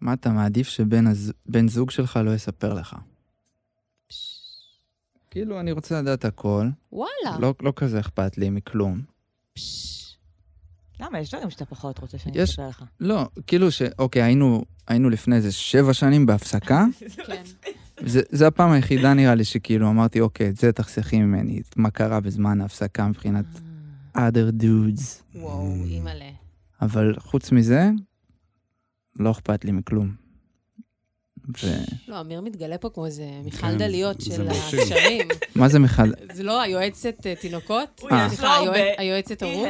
Speaker 5: מה אתה מעדיף שבן הז... בן זוג שלך לא יספר לך? כאילו, אני רוצה לדעת הכל,
Speaker 2: וואלה.
Speaker 5: לא, לא כזה אכפת לי מכלום.
Speaker 2: פש.
Speaker 1: למה? יש דברים שאתה פחות רוצה שאני
Speaker 5: יש-
Speaker 1: אספר לך.
Speaker 5: לא, כאילו ש... אוקיי, היינו, היינו לפני איזה שבע שנים בהפסקה,
Speaker 2: כן.
Speaker 5: זה, זה הפעם היחידה נראה לי שכאילו אמרתי, אוקיי, את זה תחסכי ממני, את מה קרה בזמן ההפסקה מבחינת other dudes.
Speaker 2: וואו, אימא'לה.
Speaker 5: אבל חוץ מזה, לא אכפת לי מכלום. ו...
Speaker 2: <laughs> לא, אמיר מתגלה פה כמו איזה מיכל
Speaker 3: כן,
Speaker 2: דליות
Speaker 3: זה
Speaker 2: של
Speaker 3: מרשים.
Speaker 2: הקשרים.
Speaker 5: מה זה מחד...
Speaker 2: זה לא היועצת אה, תינוקות?
Speaker 1: הוא
Speaker 5: אה.
Speaker 1: יש לו
Speaker 2: סליחה, היועצ-
Speaker 1: הרבה.
Speaker 2: היועצת הרות?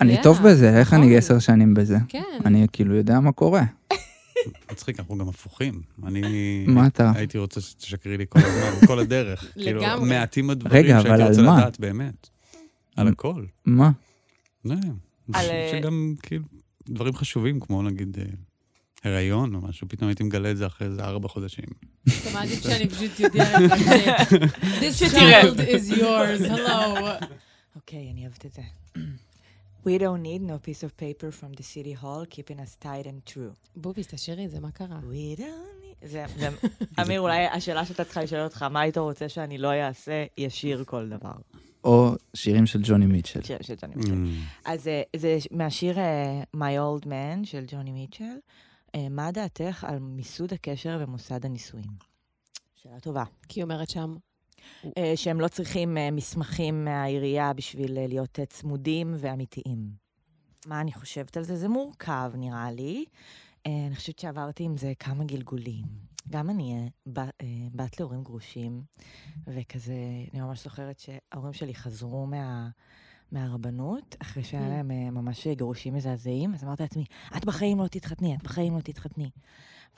Speaker 5: אני
Speaker 2: Yeah,
Speaker 5: טוב בזה, איך
Speaker 2: נכון.
Speaker 5: אני עשר שנים בזה?
Speaker 2: כן.
Speaker 5: אני כאילו יודע מה קורה.
Speaker 3: מצחיק, אנחנו גם הפוכים. אני...
Speaker 5: מה אתה?
Speaker 3: הייתי רוצה שתשקרי לי כל הזמן, <laughs> כל הדרך. כאילו,
Speaker 2: לגמרי.
Speaker 3: מעטים הדברים
Speaker 5: רגע, אבל
Speaker 3: שהייתי
Speaker 5: על
Speaker 3: רוצה
Speaker 5: מה?
Speaker 3: לדעת באמת. על הכל.
Speaker 5: מה?
Speaker 3: לא,
Speaker 1: על,
Speaker 3: ש-
Speaker 1: אה,
Speaker 3: שגם כאילו דברים חשובים, כמו נגיד אה, הריון או משהו, פתאום הייתי מגלה את זה אחרי איזה ארבע חודשים.
Speaker 2: אתה מעדיף שאני פשוט יודעת מה זה.
Speaker 1: <laughs>
Speaker 2: This child is yours, hello.
Speaker 1: אוקיי, אני אוהבת את זה. <clears throat> We don't need no piece of paper from the city hall keeping us tight and true.
Speaker 2: בוביס, תשאירי את זה, מה קרה?
Speaker 1: We don't need... זה, זה, <laughs> אמיר, אולי השאלה שאתה צריכה לשאול אותך, מה היית רוצה שאני לא אעשה, ישיר כל דבר.
Speaker 5: או שירים של ג'וני מיטשל.
Speaker 1: ש- של ג'וני
Speaker 3: Mm.
Speaker 1: מיטשל. אז אה, זה ש- מהשיר אה, My Old Man של ג'וני מיטשל. אה, מה דעתך על מיסוד הקשר ומוסד הנישואים? שאלה טובה.
Speaker 2: כי היא אומרת שם,
Speaker 1: אה, שהם לא צריכים אה, מסמכים מהעירייה בשביל אה, להיות אה, צמודים ואמיתיים. מה אני חושבת על זה? זה מורכב, נראה לי. אה, אני חושבת שעברתי עם זה כמה גלגולים. גם אני אה, ב- אה, בת להורים גרושים, וכזה, אני ממש זוכרת שההורים שלי חזרו מה... מהרבנות, אחרי שהיה
Speaker 2: Mm.
Speaker 1: להם אה, ממש גירושים מזעזעים, אז אמרתי לעצמי, את בחיים לא תתחתני, את בחיים לא תתחתני.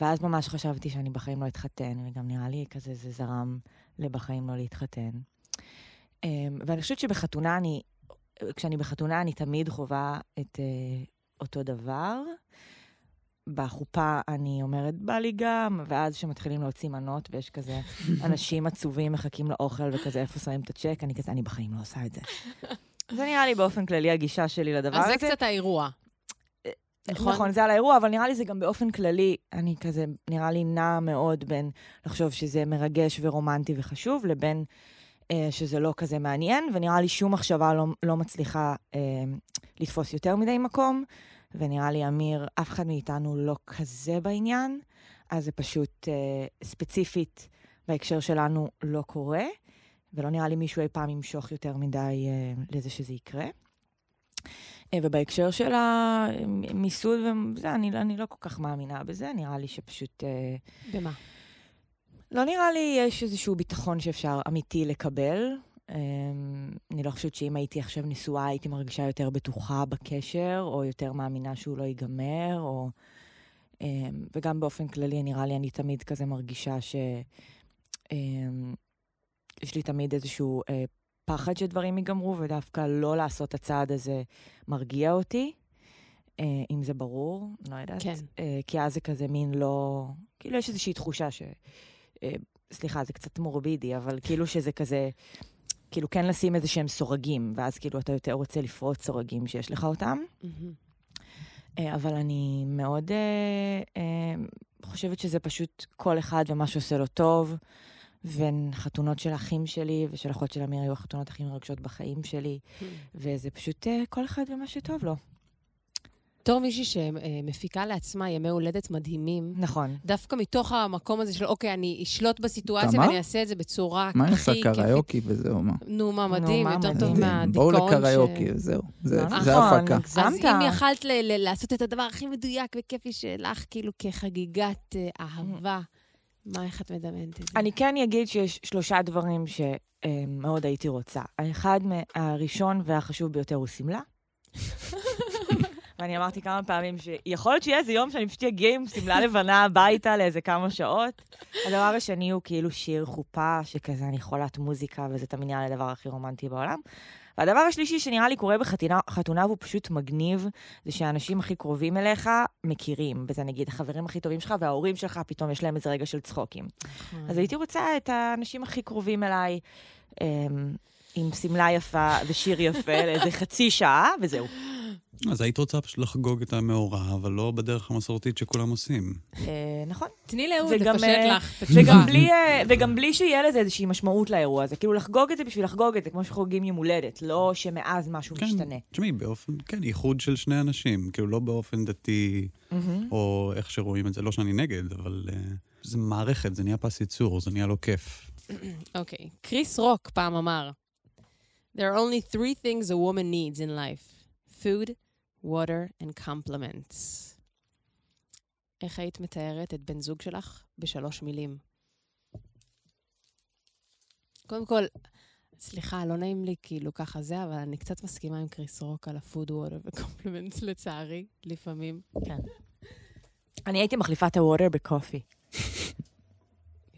Speaker 1: ואז ממש חשבתי שאני בחיים לא אתחתן, וגם נראה לי כזה זה זרם לבחיים לא להתחתן. אמ, ואני חושבת שבחתונה אני, כשאני בחתונה אני תמיד חווה את אה, אותו דבר. בחופה אני אומרת, בא לי גם, ואז כשמתחילים להוציא מנות
Speaker 2: <laughs>
Speaker 1: ויש כזה אנשים עצובים מחכים לאוכל וכזה, איפה שמים את הצ'ק, אני כזה, אני בחיים לא עושה את זה. זה נראה לי באופן כללי הגישה שלי לדבר
Speaker 2: אז
Speaker 1: הזה.
Speaker 2: זה קצת האירוע.
Speaker 1: נכון. נכון, זה על האירוע, אבל נראה לי זה גם באופן כללי, אני כזה, נראה לי נע מאוד בין לחשוב שזה מרגש ורומנטי וחשוב, לבין אה, שזה לא כזה מעניין, ונראה לי שום מחשבה לא, לא מצליחה אה, לתפוס יותר מדי מקום, ונראה לי, אמיר, אף אחד מאיתנו לא כזה בעניין, אז זה פשוט אה, ספציפית בהקשר שלנו לא קורה, ולא נראה לי מישהו אי פעם ימשוך יותר מדי אה, לזה שזה יקרה. אה, ובהקשר של המיסוד וזה, אני, לא- אני לא כל כך מאמינה בזה, נראה לי שפשוט... אה,
Speaker 2: במה?
Speaker 1: לא נראה לי יש איזשהו ביטחון שאפשר אמיתי לקבל. אמ, אני לא חושבת שאם הייתי עכשיו נשואה, הייתי מרגישה יותר בטוחה בקשר, או יותר מאמינה שהוא לא ייגמר, או... אמ, וגם באופן כללי, נראה לי, אני תמיד כזה מרגישה ש... אמ, יש לי תמיד איזשהו אה, פחד שדברים ייגמרו, ודווקא לא לעשות את הצעד הזה מרגיע אותי, אה, אם זה ברור, לא יודעת.
Speaker 2: כן.
Speaker 1: אה, כי אז זה כזה מין לא... כאילו, יש איזושהי תחושה ש... אה, סליחה, זה קצת מורבידי, אבל כאילו שזה כזה... כאילו, כן לשים איזה שהם סורגים, ואז כאילו אתה יותר רוצה לפרוץ סורגים שיש לך אותם.
Speaker 2: מהמם.
Speaker 1: אה, אבל אני מאוד אה, אה, חושבת שזה פשוט כל אחד ומה שעושה לו טוב. וחתונות של אחים שלי ושל אחות של אמיר היו החתונות הכי מרגשות בחיים שלי,
Speaker 2: כן.
Speaker 1: וזה פשוט אה, כל אחד ומה שטוב לו.
Speaker 2: בתור מישהי שמפיקה לעצמה ימי הולדת מדהימים,
Speaker 1: נכון.
Speaker 2: דווקא מתוך המקום הזה של, אוקיי, אני אשלוט בסיטואציה
Speaker 5: תמר?
Speaker 2: ואני אעשה את זה בצורה הכי
Speaker 5: מה היא
Speaker 2: כיפית.
Speaker 5: עושה קריוקי וזהו, מה? כן,
Speaker 2: נו, מה מדהים,
Speaker 1: מה
Speaker 2: יותר
Speaker 1: מדהים.
Speaker 2: טוב מהדיכאון ש...
Speaker 5: בואו לקריוקי, זהו. זה
Speaker 1: לא
Speaker 5: זה
Speaker 1: נכון,
Speaker 5: ההפקה.
Speaker 2: אז
Speaker 1: הגזמת.
Speaker 2: אם יכלת ל- ל- לעשות את הדבר הכי מדויק וכיפי שלך, כאילו כחגיגת אה, אהבה, מה, איך את מדמיינת את זה?
Speaker 1: אני כן אגיד שיש שלושה דברים שמאוד הייתי רוצה. האחד, מה- הראשון והחשוב ביותר הוא שמלה. ואני אמרתי כמה פעמים שיכול להיות שיהיה איזה יום שאני פשוט אגיע עם שמלה לבנה הביתה לאיזה כמה שעות. הדבר השני הוא כאילו שיר חופה, שכזה אני חולת מוזיקה, וזה תמיד נראה לי הדבר הכי רומנטי בעולם. והדבר השלישי שנראה לי קורה בחתונה, חתונה והוא פשוט מגניב, זה שהאנשים הכי קרובים אליך מכירים, וזה נגיד החברים הכי טובים שלך וההורים שלך, פתאום יש להם איזה רגע של צחוקים.
Speaker 2: נכון.
Speaker 1: אז הייתי רוצה את האנשים הכי קרובים אליי, אמ, עם שמלה יפה ושיר יפה <laughs> לאיזה חצי שעה, וזהו.
Speaker 3: אז היית רוצה פשוט לחגוג את המאורע, אבל לא בדרך המסורתית שכולם עושים.
Speaker 1: אה, נכון.
Speaker 2: תני לאהוד
Speaker 1: וגם,
Speaker 2: לפשט
Speaker 1: אה,
Speaker 2: לך את
Speaker 1: וגם
Speaker 3: <laughs>
Speaker 2: התשובה.
Speaker 1: בלי, אה, וגם בלי שיהיה לזה איזושהי משמעות לאירוע הזה. כאילו לחגוג את זה בשביל לחגוג את זה, כמו שחוגגים יום הולדת, לא שמאז משהו
Speaker 3: כן,
Speaker 1: משתנה.
Speaker 3: תשמעי, באופן, כן, איחוד של שני אנשים, כאילו לא באופן דתי,
Speaker 1: מהמם.
Speaker 3: או איך שרואים את זה, לא שאני נגד, אבל אה, זה מערכת, זה נהיה פס ייצור, זה נהיה לא כיף.
Speaker 2: אוקיי. קריס רוק פעם אמר, There are only three things a woman needs in life. food, water and compliments. איך היית מתארת את בן זוג שלך בשלוש מילים? קודם כל, סליחה, לא נעים לי כאילו ככה זה, אבל אני קצת מסכימה עם קריס רוק על ה-food, water ו-compliments לצערי, לפעמים.
Speaker 1: אני הייתי מחליפה את הווטר בקופי,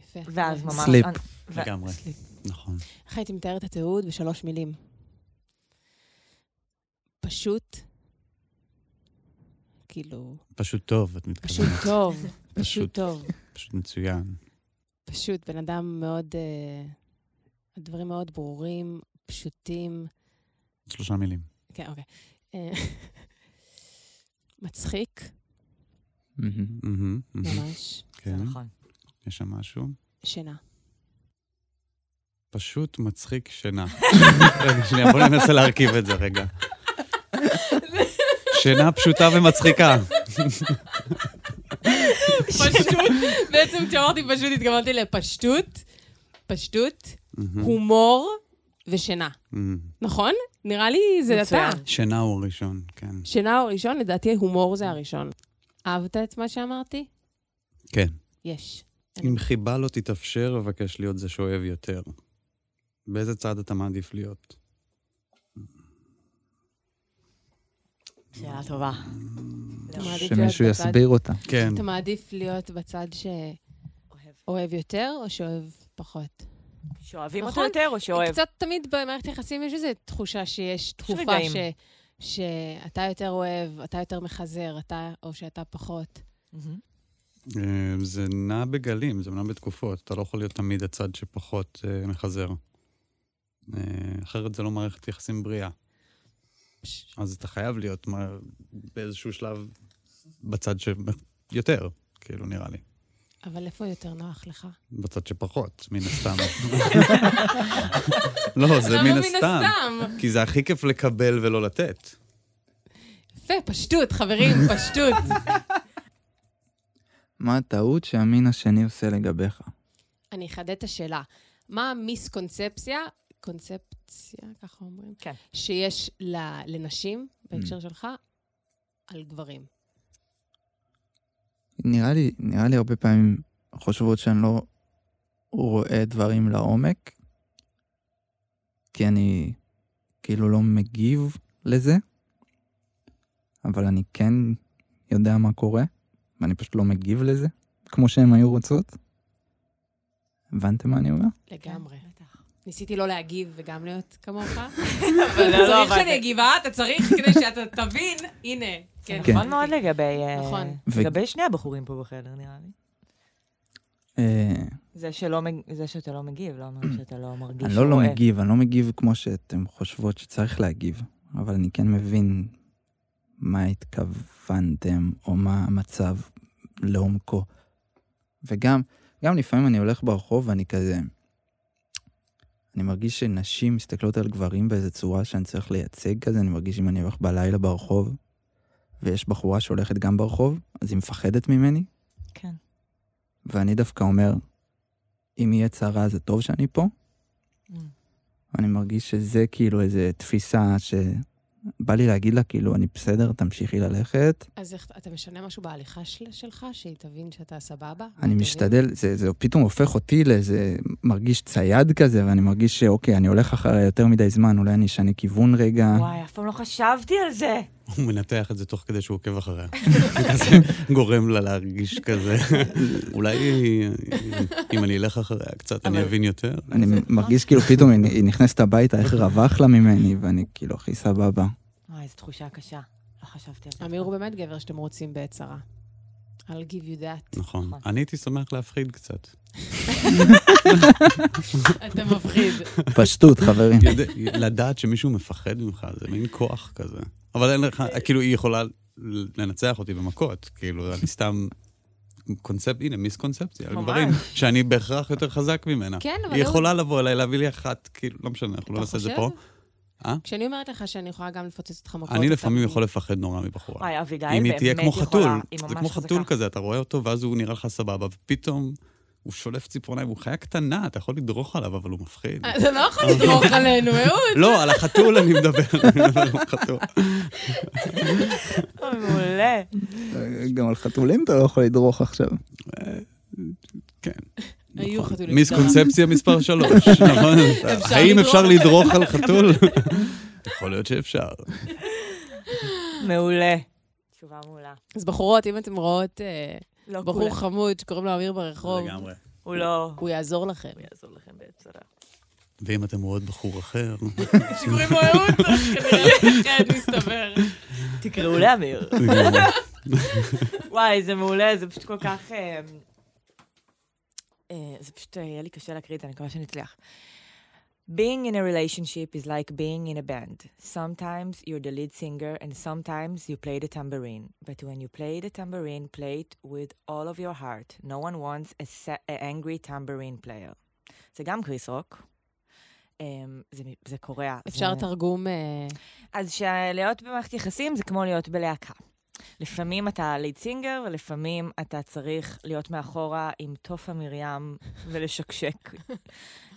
Speaker 2: יפה.
Speaker 1: ואז ממש...
Speaker 5: סליפ.
Speaker 1: אני- ו-
Speaker 3: לגמרי.
Speaker 1: סליפ.
Speaker 3: נכון.
Speaker 2: איך הייתי מתארת את התיעוד בשלוש מילים? פשוט, כאילו,
Speaker 3: פשוט טוב, את מתכוונת.
Speaker 2: פשוט <laughs> טוב, פשוט
Speaker 3: פשוט.
Speaker 2: טוב.
Speaker 3: פשוט מצוין.
Speaker 2: פשוט בן אדם מאוד, אה, הדברים מאוד ברורים, פשוטים.
Speaker 3: שלושה מילים.
Speaker 2: כן, אוקיי. אה, <laughs> מצחיק,
Speaker 5: מהמם.
Speaker 3: מהמם, מהמם.
Speaker 2: ממש.
Speaker 1: זה
Speaker 3: כן,
Speaker 1: נכון.
Speaker 3: יש שם משהו.
Speaker 2: שינה.
Speaker 3: פשוט מצחיק שינה. <laughs> רגע, שנייה, בואו ננסה להרכיב את זה רגע. שינה פשוטה ומצחיקה.
Speaker 2: <laughs> פשוט, בעצם כשאמרתי פשוט התכוונתי לפשטות, פשטות, הומור ושינה.
Speaker 3: מהמם.
Speaker 2: נכון? נראה לי זה אתה.
Speaker 1: מצוין.
Speaker 3: שינה הוא הראשון, כן.
Speaker 2: שינה הוא הראשון, לדעתי הומור זה הראשון. אהבת את מה שאמרתי?
Speaker 3: כן.
Speaker 2: יש.
Speaker 3: אם חיבה לא תתאפשר, אבקש להיות זה שאוהב יותר. באיזה צד אתה מעדיף להיות?
Speaker 1: שאלה טובה. לא.
Speaker 2: אתה מעדיף להיות
Speaker 5: שמישהו
Speaker 2: בצד-
Speaker 5: יסביר אותה.
Speaker 3: כן.
Speaker 2: אתה מעדיף להיות בצד שאוהב יותר או שאוהב פחות?
Speaker 1: שאוהבים אותו
Speaker 2: נכון?
Speaker 1: יותר או שאוהב?
Speaker 2: קצת תמיד במערכת יחסים יש איזו תחושה שיש תקופה
Speaker 1: רגעים.
Speaker 2: ש... שאתה יותר אוהב, אתה יותר מחזר, אתה, או שאתה פחות.
Speaker 1: מהמם.
Speaker 3: אה, זה נע בגלים, זה נע בתקופות. אתה לא יכול להיות תמיד הצד שפחות אה, מחזר. אה, אחרת זה לא מערכת יחסים בריאה. אז אתה חייב להיות מה, באיזשהו שלב בצד שיותר, כאילו, נראה לי.
Speaker 2: אבל איפה יותר נוח לך?
Speaker 3: בצד שפחות, מן <laughs> הסתם. לא,
Speaker 2: אה,
Speaker 3: זה מן הסתם. כי זה הכי כיף לקבל ולא לתת.
Speaker 2: יפה, פשטות, חברים,
Speaker 3: <laughs>
Speaker 2: פשטות.
Speaker 5: מה הטעות שהמין השני עושה לגביך?
Speaker 2: אני אחדד את השאלה. מה המיסקונספציה, קונספציה, ככה אומרים?
Speaker 1: כן.
Speaker 2: שיש ל- לנשים, בהקשר
Speaker 5: Mm.
Speaker 2: שלך, על גברים.
Speaker 5: נראה לי, נראה לי הרבה פעמים חושבות שאני לא רואה דברים לעומק, כי אני כאילו לא מגיב לזה, אבל אני כן יודע מה קורה, ואני פשוט לא מגיב לזה, כמו שהן היו רוצות. הבנתם מה אני אומר?
Speaker 2: לגמרי.
Speaker 1: כן, בטח.
Speaker 2: ניסיתי לא להגיב וגם להיות כמוך.
Speaker 1: <laughs> אבל זה לא
Speaker 2: צריך
Speaker 1: עבד.
Speaker 2: שאני אגיבה, אתה צריך כדי שאתה תבין. הנה.
Speaker 1: זה
Speaker 2: כן,
Speaker 1: נכון מאוד לגבי... אה,
Speaker 2: נכון.
Speaker 5: ו-
Speaker 1: לגבי שני הבחורים פה בחדר, נראה לי.
Speaker 5: אה,
Speaker 1: זה שלא מג- זה שאתה לא מגיב, לא אומר שאתה לא מרגיש
Speaker 5: אני לא לא
Speaker 1: רואה.
Speaker 5: מגיב, אני לא מגיב כמו שאתם חושבות שצריך להגיב, אבל אני כן מבין מה התכוונתם או מה המצב לעומקו. וגם, גם לפעמים אני הולך ברחוב ואני כזה, אני מרגיש שנשים מסתכלות על גברים באיזו צורה שאני צריך לייצג כזה, אני מרגיש אם אני הולך בלילה ברחוב, ויש בחורה שהולכת גם ברחוב, אז היא מפחדת ממני,
Speaker 1: כן.
Speaker 5: ואני דווקא אומר, אם יהיה צרה זה טוב שאני פה,
Speaker 2: אה.
Speaker 5: אני מרגיש שזה כאילו איזה תפיסה שבא לי להגיד לה, כאילו, אני בסדר, תמשיכי ללכת.
Speaker 2: אז איך- אתה משנה משהו בהליכה של- שלך, שהיא תבין שאתה סבבה?
Speaker 5: אני
Speaker 2: ותבין?
Speaker 5: משתדל, זה, זה פתאום הופך אותי לאיזה מרגיש צייד כזה, ואני מרגיש שאוקיי, אני הולך אחרי יותר מדי זמן, אולי אני אשנה כיוון רגע.
Speaker 1: וואי, אף פעם לא חשבתי על זה.
Speaker 3: הוא מנתח את זה תוך כדי שהוא
Speaker 2: <laughs>
Speaker 3: עוקב אחריה. כזה גורם לה להרגיש כזה. אולי אם אני אלך אחריה קצת, אני
Speaker 2: אבל-
Speaker 3: אבין יותר.
Speaker 5: אני מרגיש כאילו פתאום היא היא נכנסת הביתה, איך רווח לה ממני, ואני כאילו, הכי סבבה.
Speaker 1: וואי, זו תחושה קשה. לא חשבתי על זה.
Speaker 2: אמיר הוא באמת גבר שאתם רוצים בעת צרה. I'll give you that.
Speaker 3: נכון.
Speaker 1: נכון.
Speaker 3: אני הייתי שמח להפחיד קצת.
Speaker 2: אתה מפחיד.
Speaker 5: פשטות, חברים.
Speaker 3: יודע- לדעת שמישהו מפחד ממך, זה מין כוח כזה. אבל אין לך, כאילו, היא יכולה לנצח אותי במכות. כאילו, אני סתם... קונספט, הנה, מיסקונספציה על
Speaker 1: ממש.
Speaker 3: גברים, שאני בהכרח יותר חזק ממנה.
Speaker 2: כן, אבל...
Speaker 3: היא
Speaker 2: לא-
Speaker 3: יכולה לבוא אליי, להביא לי אחת, כאילו, לא משנה, אנחנו לא
Speaker 2: אתה
Speaker 3: נעשה את זה פה.
Speaker 2: חושב?
Speaker 3: אה?
Speaker 2: כשאני אומרת לך שאני יכולה גם לפוצץ אותך מכות...
Speaker 3: אני
Speaker 2: אתה-
Speaker 3: לפעמים יכול לפחד נורא מבחורה.
Speaker 1: וואי, אביגיל באמת
Speaker 3: אם היא תהיה כמו
Speaker 1: יכולה,
Speaker 3: חתול,
Speaker 1: היא
Speaker 3: זה
Speaker 1: ממש
Speaker 3: כמו
Speaker 1: חזקה.
Speaker 3: חתול כזה, אתה רואה אותו, ואז הוא נראה לך סבבה, ופתאום הוא שולף ציפורניים, הוא חיה קטנה, אתה יכול לדרוך עליו, אבל הוא מפחיד.
Speaker 2: אתה לא יכול לדרוך
Speaker 3: <laughs>
Speaker 2: עלינו, אהוד.
Speaker 3: לא, על החתול אני מדבר, אני מדבר על החתול.
Speaker 1: אוי, מעולה.
Speaker 5: <laughs> גם על חתולים אתה לא יכול לדרוך עכשיו.
Speaker 2: <laughs> היו
Speaker 3: נכון.
Speaker 2: חתולים.
Speaker 3: מיסקונספציה מספר
Speaker 2: <laughs>
Speaker 3: שלוש, נכון?
Speaker 2: אפשר
Speaker 3: האם
Speaker 2: לדרוך.
Speaker 3: אפשר לדרוך על חתול?
Speaker 2: <laughs>
Speaker 3: יכול להיות שאפשר.
Speaker 1: מעולה. תשובה מעולה.
Speaker 2: אז בחורות, אם אתם רואות אה,
Speaker 1: לא
Speaker 2: בחור חמוד שקוראים לו אמיר ברחוב,
Speaker 3: לגמרי.
Speaker 1: הוא לא...
Speaker 2: הוא יעזור
Speaker 1: <laughs>
Speaker 2: לכם.
Speaker 1: הוא יעזור לכם בעצם.
Speaker 2: <laughs>
Speaker 3: ואם אתם רואות בחור אחר,
Speaker 1: כן,
Speaker 2: שקוראים לו אהוד, כנראה מסתבר.
Speaker 1: תקראו לאמיר.
Speaker 3: לגמרי.
Speaker 1: וואי, זה מעולה, זה פשוט כל כך... אה, אה, זה פשוט אה, יהיה לי קשה להקריא את זה, אני מקווה שנצליח. Being in a relationship is like being in a band. Sometimes you're the lead singer and sometimes you play the tambourine. But when you play the tambourine, play it with all of your heart. No one wants a, sa- a angry tambourine player. זה גם קריס רוק. אה, זה, מ- זה קורע.
Speaker 2: אפשר
Speaker 1: זה...
Speaker 2: תרגום... אה,
Speaker 1: אז שלהיות במערכת יחסים זה כמו להיות בלהקה. לפעמים אתה ליד סינגר, ולפעמים אתה צריך להיות מאחורה עם תופה מרים ולשקשק.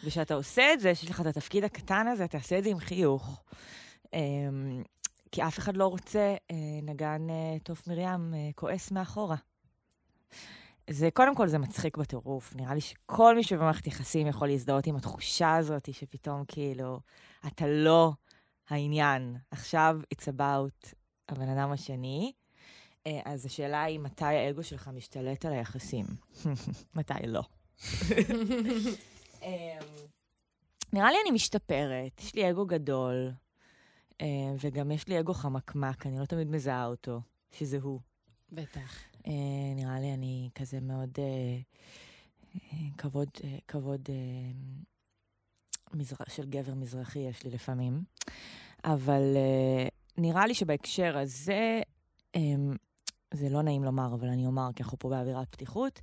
Speaker 1: וכשאתה עושה את זה, שיש לך את התפקיד הקטן הזה, תעשה את זה עם חיוך. אמ, כי אף אחד לא רוצה אה, נגן אה, תוף מרים אה, כועס מאחורה. זה, קודם כל, זה מצחיק בטירוף. נראה לי שכל מי שבמערכת יחסים יכול להזדהות עם התחושה הזאת, שפתאום כאילו, אתה לא העניין. עכשיו, it's about הבן אדם השני. אה, אז השאלה היא, מתי האגו שלך משתלט על היחסים? <laughs> מתי לא. אמ, נראה לי אני משתפרת, יש לי אגו גדול, אה, וגם יש לי אגו חמקמק, אני לא תמיד מזהה אותו, שזה הוא.
Speaker 2: בטח.
Speaker 1: אה, נראה לי אני כזה מאוד אה, אה, כבוד, אה, כבוד אה, מזר... של גבר מזרחי יש לי לפעמים, אבל אה, נראה לי שבהקשר הזה, אה, זה לא נעים לומר, אבל אני אומר, כי אנחנו פה באווירת פתיחות,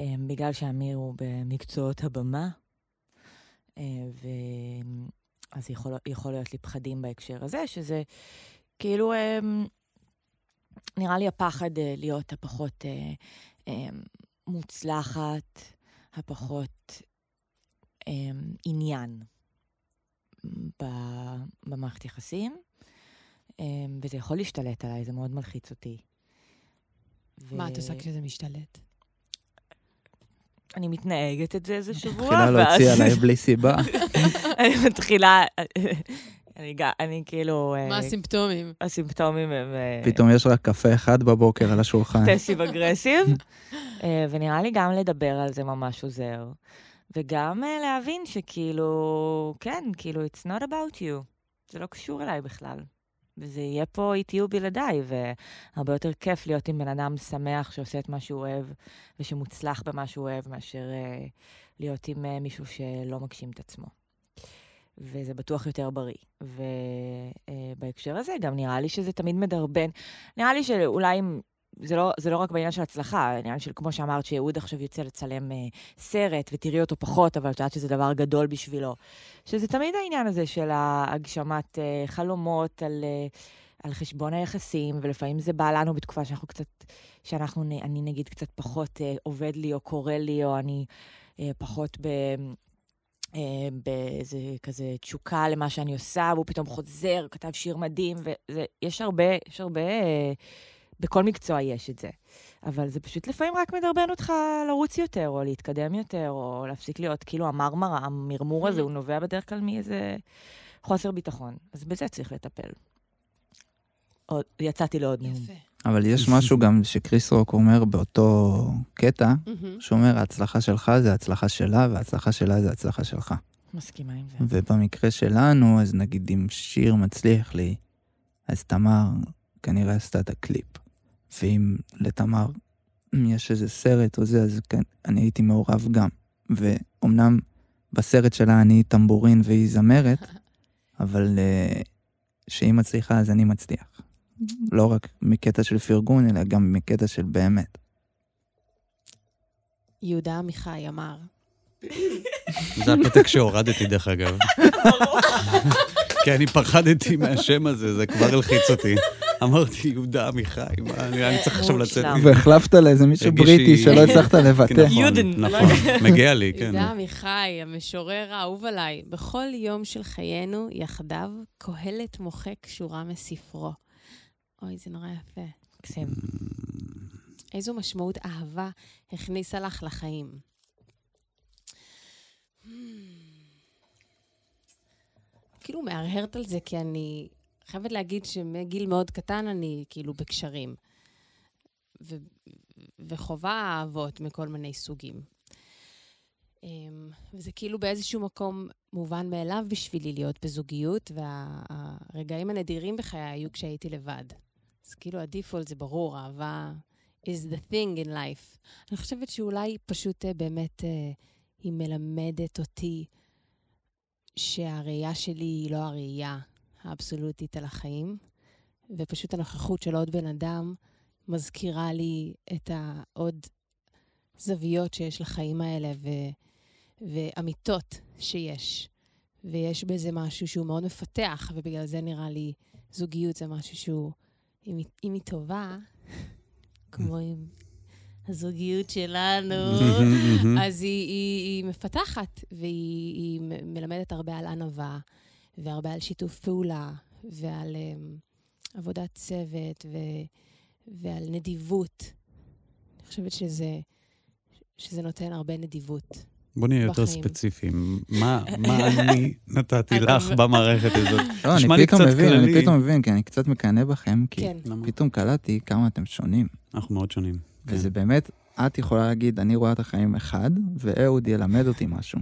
Speaker 1: אה, בגלל שאמיר הוא במקצועות הבמה, אה, ו... אז יכול, יכול להיות לי פחדים בהקשר הזה, שזה כאילו... אה, נראה לי הפחד אה, להיות הפחות אה, אה, מוצלחת, הפחות אה, עניין ב- במערכת יחסים, אה, וזה יכול להשתלט עליי, זה מאוד מלחיץ אותי. ו-
Speaker 2: מה את עושה כשזה משתלט?
Speaker 1: אני מתנהגת את זה איזה שבוע,
Speaker 5: מתחילה להוציא
Speaker 1: ואז
Speaker 5: עליי בלי סיבה.
Speaker 1: <laughs> אני מתחילה... אה, אני, ג- אני כאילו... אה,
Speaker 2: מה הסימפטומים?
Speaker 1: הסימפטומים הם... אה,
Speaker 5: פתאום יש רק קפה אחד בבוקר על השולחן.
Speaker 1: פסיב אגרסיב, אה, ונראה לי גם לדבר על זה ממש עוזר. וגם אה, להבין שכאילו, כן, כאילו, it's not about you. זה לא קשור אליי בכלל. וזה יהיה פה איתי ובלעדיי, והרבה יותר כיף להיות עם בן אדם שמח שעושה את מה שהוא אוהב, ושמוצלח במה שהוא אוהב, מאשר אה, להיות עם אה, מישהו שלא מגשים את עצמו. וזה בטוח יותר בריא. ובהקשר הזה, גם נראה לי שזה תמיד מדרבן. נראה לי שאולי אם זה לא, זה לא רק בעניין של הצלחה, העניין של, כמו שאמרת, שאהוד עכשיו יוצא לצלם אה, סרט, ותראי אותו פחות, אבל את יודעת שזה דבר גדול בשבילו. שזה תמיד העניין הזה של הגשמת אה, חלומות על, אה, על חשבון היחסים, ולפעמים זה בא לנו בתקופה שאנחנו קצת, שאנחנו, נ- אני נגיד קצת פחות אה, עובד לי, או קורא לי, או אני אה, פחות ב... אה, באיזה כזה תשוקה למה שאני עושה, והוא פתאום חוזר, כתב שיר מדהים, ויש הרבה, יש הרבה אה, בכל מקצוע יש את זה. אבל זה פשוט לפעמים רק מדרבן אותך לרוץ יותר, או להתקדם יותר, או להפסיק להיות, כאילו המרמרה, המרמור הזה, הוא נובע בדרך כלל מאיזה חוסר ביטחון. אז בזה צריך לטפל. עוד- יצאתי לעוד נאום.
Speaker 2: יפה.
Speaker 5: אבל יש משהו גם שקריס רוק אומר באותו קטע,
Speaker 2: מהמם.
Speaker 5: שהוא אומר, ההצלחה שלך זה ההצלחה שלה, וההצלחה שלה זה ההצלחה שלך.
Speaker 1: מסכימה עם זה.
Speaker 5: כן. ובמקרה שלנו, אז נגיד אם שיר מצליח לי, אז תמר כנראה עשתה את הקליפ. ואם לתמר יש איזה סרט או זה, אז כן, אני הייתי מעורב גם. ואומנם בסרט שלה אני טמבורין והיא זמרת, אבל אה, שהיא מצליחה אז אני מצליח. לא רק מקטע של פרגון, אלא גם מקטע של באמת.
Speaker 2: יהודה עמיחי אמר.
Speaker 3: זה הפתק שהורדתי, דרך אגב. כי אני פחדתי מהשם הזה, זה כבר הלחיץ אותי. אמרתי, יהודה עמיחי, מה, אני אני צריך עכשיו לצאת.
Speaker 1: מושלם.
Speaker 5: והחלפת לאיזה מישהו
Speaker 3: הרגיש
Speaker 5: בריטי
Speaker 3: שהיא-
Speaker 5: שלא הצלחת
Speaker 3: <laughs> כן,
Speaker 5: לבטא.
Speaker 3: נכון,
Speaker 1: יודן.
Speaker 3: נכון, מגיע לי, כן.
Speaker 2: יהודה עמיחי, המשורר האהוב עליי, בכל יום של חיינו, יחדיו, קהלת מוחק שורה מספרו. אוי, זה נורא יפה.
Speaker 1: מקסים.
Speaker 2: איזו משמעות אהבה הכניסה לך לחיים. Hmm. כאילו מהרהרת על זה, כי אני חייבת להגיד שמגיל מאוד קטן אני כאילו בקשרים. ו- וחווה אהבות מכל מיני סוגים. אמ, וזה כאילו באיזשהו מקום מובן מאליו בשבילי להיות בזוגיות, והרגעים הנדירים בחיי היו כשהייתי לבד. אז כאילו הדיפולט זה ברור, אהבה is the thing in life. אני חושבת שאולי פשוט אה, באמת אה, היא מלמדת אותי שהראייה שלי היא לא הראייה האבסולוטית על החיים, ופשוט הנוכחות של עוד בן אדם מזכירה לי את העוד זוויות שיש לחיים האלה ו... ואמיתות שיש. ויש בזה משהו שהוא מאוד מפתח, ובגלל זה נראה לי זוגיות זה משהו שהוא, אם היא, אם היא טובה, כמו עם הזוגיות שלנו,
Speaker 3: <laughs>
Speaker 2: אז היא, היא, היא מפתחת, והיא היא מ- מלמדת הרבה על ענווה, והרבה על שיתוף פעולה, ועל um, עבודת צוות, ו, ועל נדיבות. אני חושבת שזה, שזה נותן הרבה נדיבות.
Speaker 3: בוא נהיה יותר
Speaker 2: בחיים.
Speaker 3: ספציפיים. מה מה אני נתתי לך במערכת הזאת?
Speaker 5: לא,
Speaker 3: נשמע
Speaker 5: אני
Speaker 3: לי
Speaker 5: פתאום
Speaker 3: קצת
Speaker 5: מבין,
Speaker 3: כללי.
Speaker 5: אני פתאום מבין, כי אני קצת מקנא בכם, כי
Speaker 2: כן.
Speaker 3: למה?
Speaker 5: פתאום קלטתי כמה אתם שונים.
Speaker 3: אנחנו מאוד שונים. כן.
Speaker 5: וזה באמת, את יכולה להגיד, אני רואה את החיים אחד, ואהוד ילמד אותי משהו.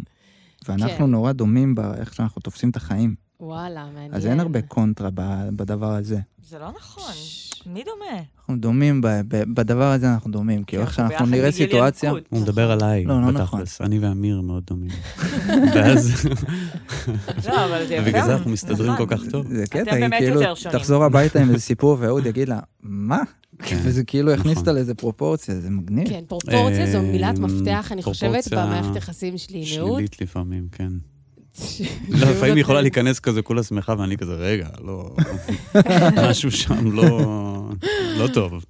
Speaker 5: ואנחנו
Speaker 2: כן.
Speaker 5: נורא דומים באיך שאנחנו תופסים את החיים.
Speaker 2: וואלה, מעניין.
Speaker 5: אז
Speaker 1: כן.
Speaker 5: אין הרבה קונטרה ב- בדבר הזה.
Speaker 1: זה לא נכון. מי דומה?
Speaker 5: אנחנו דומים, ב- ב- בדבר הזה אנחנו דומים,
Speaker 2: כן,
Speaker 5: כי אוקיי, איך
Speaker 1: אנחנו
Speaker 5: שאנחנו
Speaker 1: ביחד
Speaker 5: נראה
Speaker 1: בגיל
Speaker 5: סיטואציה...
Speaker 1: ינקות.
Speaker 3: הוא מדבר
Speaker 2: נכון.
Speaker 3: עליי,
Speaker 5: לא, לא
Speaker 3: בתכלס. אני ואמיר מאוד
Speaker 2: <laughs>
Speaker 3: דומים. ואז,
Speaker 1: לא, אבל זה יפה.
Speaker 3: בגלל זה אנחנו מסתדרים כל
Speaker 1: נכון.
Speaker 3: כך טוב.
Speaker 5: זה קטע,
Speaker 1: אתם
Speaker 5: היא
Speaker 1: באמת
Speaker 5: כאילו
Speaker 1: יותר שונים.
Speaker 5: תחזור
Speaker 3: <laughs>
Speaker 5: הביתה עם איזה סיפור, ואהוד יגיד לה, מה?
Speaker 3: כן.
Speaker 5: וזה כאילו הכניס
Speaker 3: נכון.
Speaker 5: אותה לאיזה פרופורציה, זה מגניב.
Speaker 2: כן, פרופורציה זו
Speaker 3: אה,
Speaker 2: מילת מפתח, אני חושבת,
Speaker 3: פרופורציה
Speaker 2: במערכת יחסים שלי עם אהוד.
Speaker 3: שלילית לפעמים, כן.
Speaker 2: שהוא
Speaker 3: לא, לפעמים היא יכולה
Speaker 2: נותן-
Speaker 3: להיכנס כזה כולה שמחה, ואני כזה, רגע, לא... משהו שם לא... לא טוב.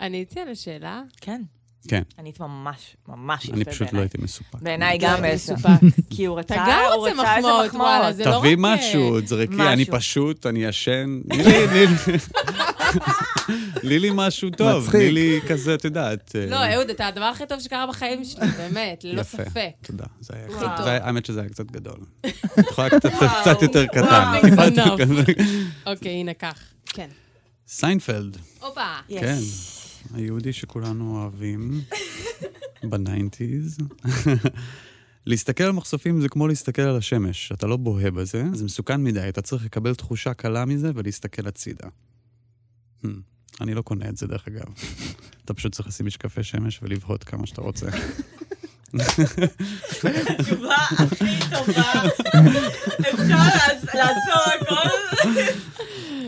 Speaker 2: עניתי על השאלה.
Speaker 1: כן.
Speaker 3: כן.
Speaker 1: ענית ממש, ממש יפה
Speaker 3: אני
Speaker 1: בעיניי.
Speaker 3: פשוט לא הייתי מסופק.
Speaker 1: בעיניי גם
Speaker 2: אני
Speaker 1: עשר.
Speaker 2: מסופק.
Speaker 1: כי הוא רצה,
Speaker 2: אתה גם
Speaker 1: הוא
Speaker 2: רוצה
Speaker 1: רצה איזה
Speaker 2: מחמאות,
Speaker 1: מחמאות.
Speaker 2: וואלה, זה לא רק...
Speaker 3: תביא
Speaker 2: אה,
Speaker 3: משהו, תזרקי, אני
Speaker 1: משהו.
Speaker 3: פשוט, אני ישן. תני לי-
Speaker 2: <laughs>
Speaker 3: תני לי- תני לי משהו טוב,
Speaker 5: מצחיק.
Speaker 3: תני לי כזה, את יודעת. אה,
Speaker 2: לא, אהוד, אתה הדבר הכי טוב שקרה בחיים שלי, באמת, ללא
Speaker 3: יפה.
Speaker 2: ספק.
Speaker 3: תודה, זה היה
Speaker 2: וואו.
Speaker 3: קצת, זה היה- האמת שזה היה קצת גדול. את יכולה קצת- קצת יותר קטן.
Speaker 2: וואו,
Speaker 3: טיפה יותר
Speaker 2: זנב.
Speaker 3: קטן.
Speaker 2: אוקיי, הנה, כך. כן.
Speaker 3: סיינפלד,
Speaker 2: הופה.
Speaker 1: יש.
Speaker 3: כן. היהודי שכולנו
Speaker 2: <laughs>
Speaker 3: אוהבים בניינטיז. <laughs> להסתכל על מחשופים זה כמו להסתכל על השמש, אתה לא בוהה בזה, זה מסוכן מדי, אתה צריך לקבל תחושה קלה מזה ולהסתכל הצידה. Hmm, אני לא קונה את זה, דרך אגב. <laughs> אתה פשוט צריך לשים משקפי שמש ולבהות כמה שאתה
Speaker 2: <laughs>
Speaker 3: רוצה.
Speaker 1: התשובה הכי טובה. אפשר לעצ- לעצור הכל.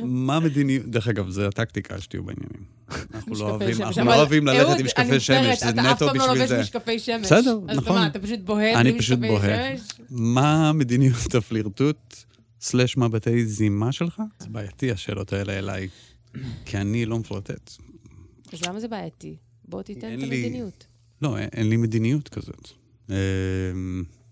Speaker 3: מה המדיניות, דרך אגב, זו הטקטיקה שתהיו בעניינים. אנחנו לא
Speaker 2: משקפי
Speaker 3: אוהבים,
Speaker 2: שמש.
Speaker 3: אנחנו
Speaker 2: אבל
Speaker 3: לא אוהבים
Speaker 2: אהוד,
Speaker 3: ללכת
Speaker 2: אני
Speaker 3: עם משקפי
Speaker 2: מצטערת,
Speaker 3: שמש, זה
Speaker 2: אתה אף
Speaker 3: נטו
Speaker 2: פעם לא
Speaker 3: בשביל
Speaker 2: לובש
Speaker 3: זה.
Speaker 2: משקפי שמש.
Speaker 3: בסדר,
Speaker 2: אז אתה
Speaker 3: נכון.
Speaker 2: מה, אתה פשוט בוהה בלי
Speaker 3: אני פשוט
Speaker 2: משקפי
Speaker 3: בוהה.
Speaker 2: שמש?
Speaker 3: מה מדיניות הפלירטוט סלש מבטי זימה שלך? זה בעייתי השאלות האלה אליי, כי אני לא מפלוטט.
Speaker 2: אז למה זה בעייתי? בוא תיתן
Speaker 3: אין
Speaker 2: את
Speaker 3: לי-
Speaker 2: המדיניות.
Speaker 3: לא, אין- אין לי מדיניות כזאת. אמ,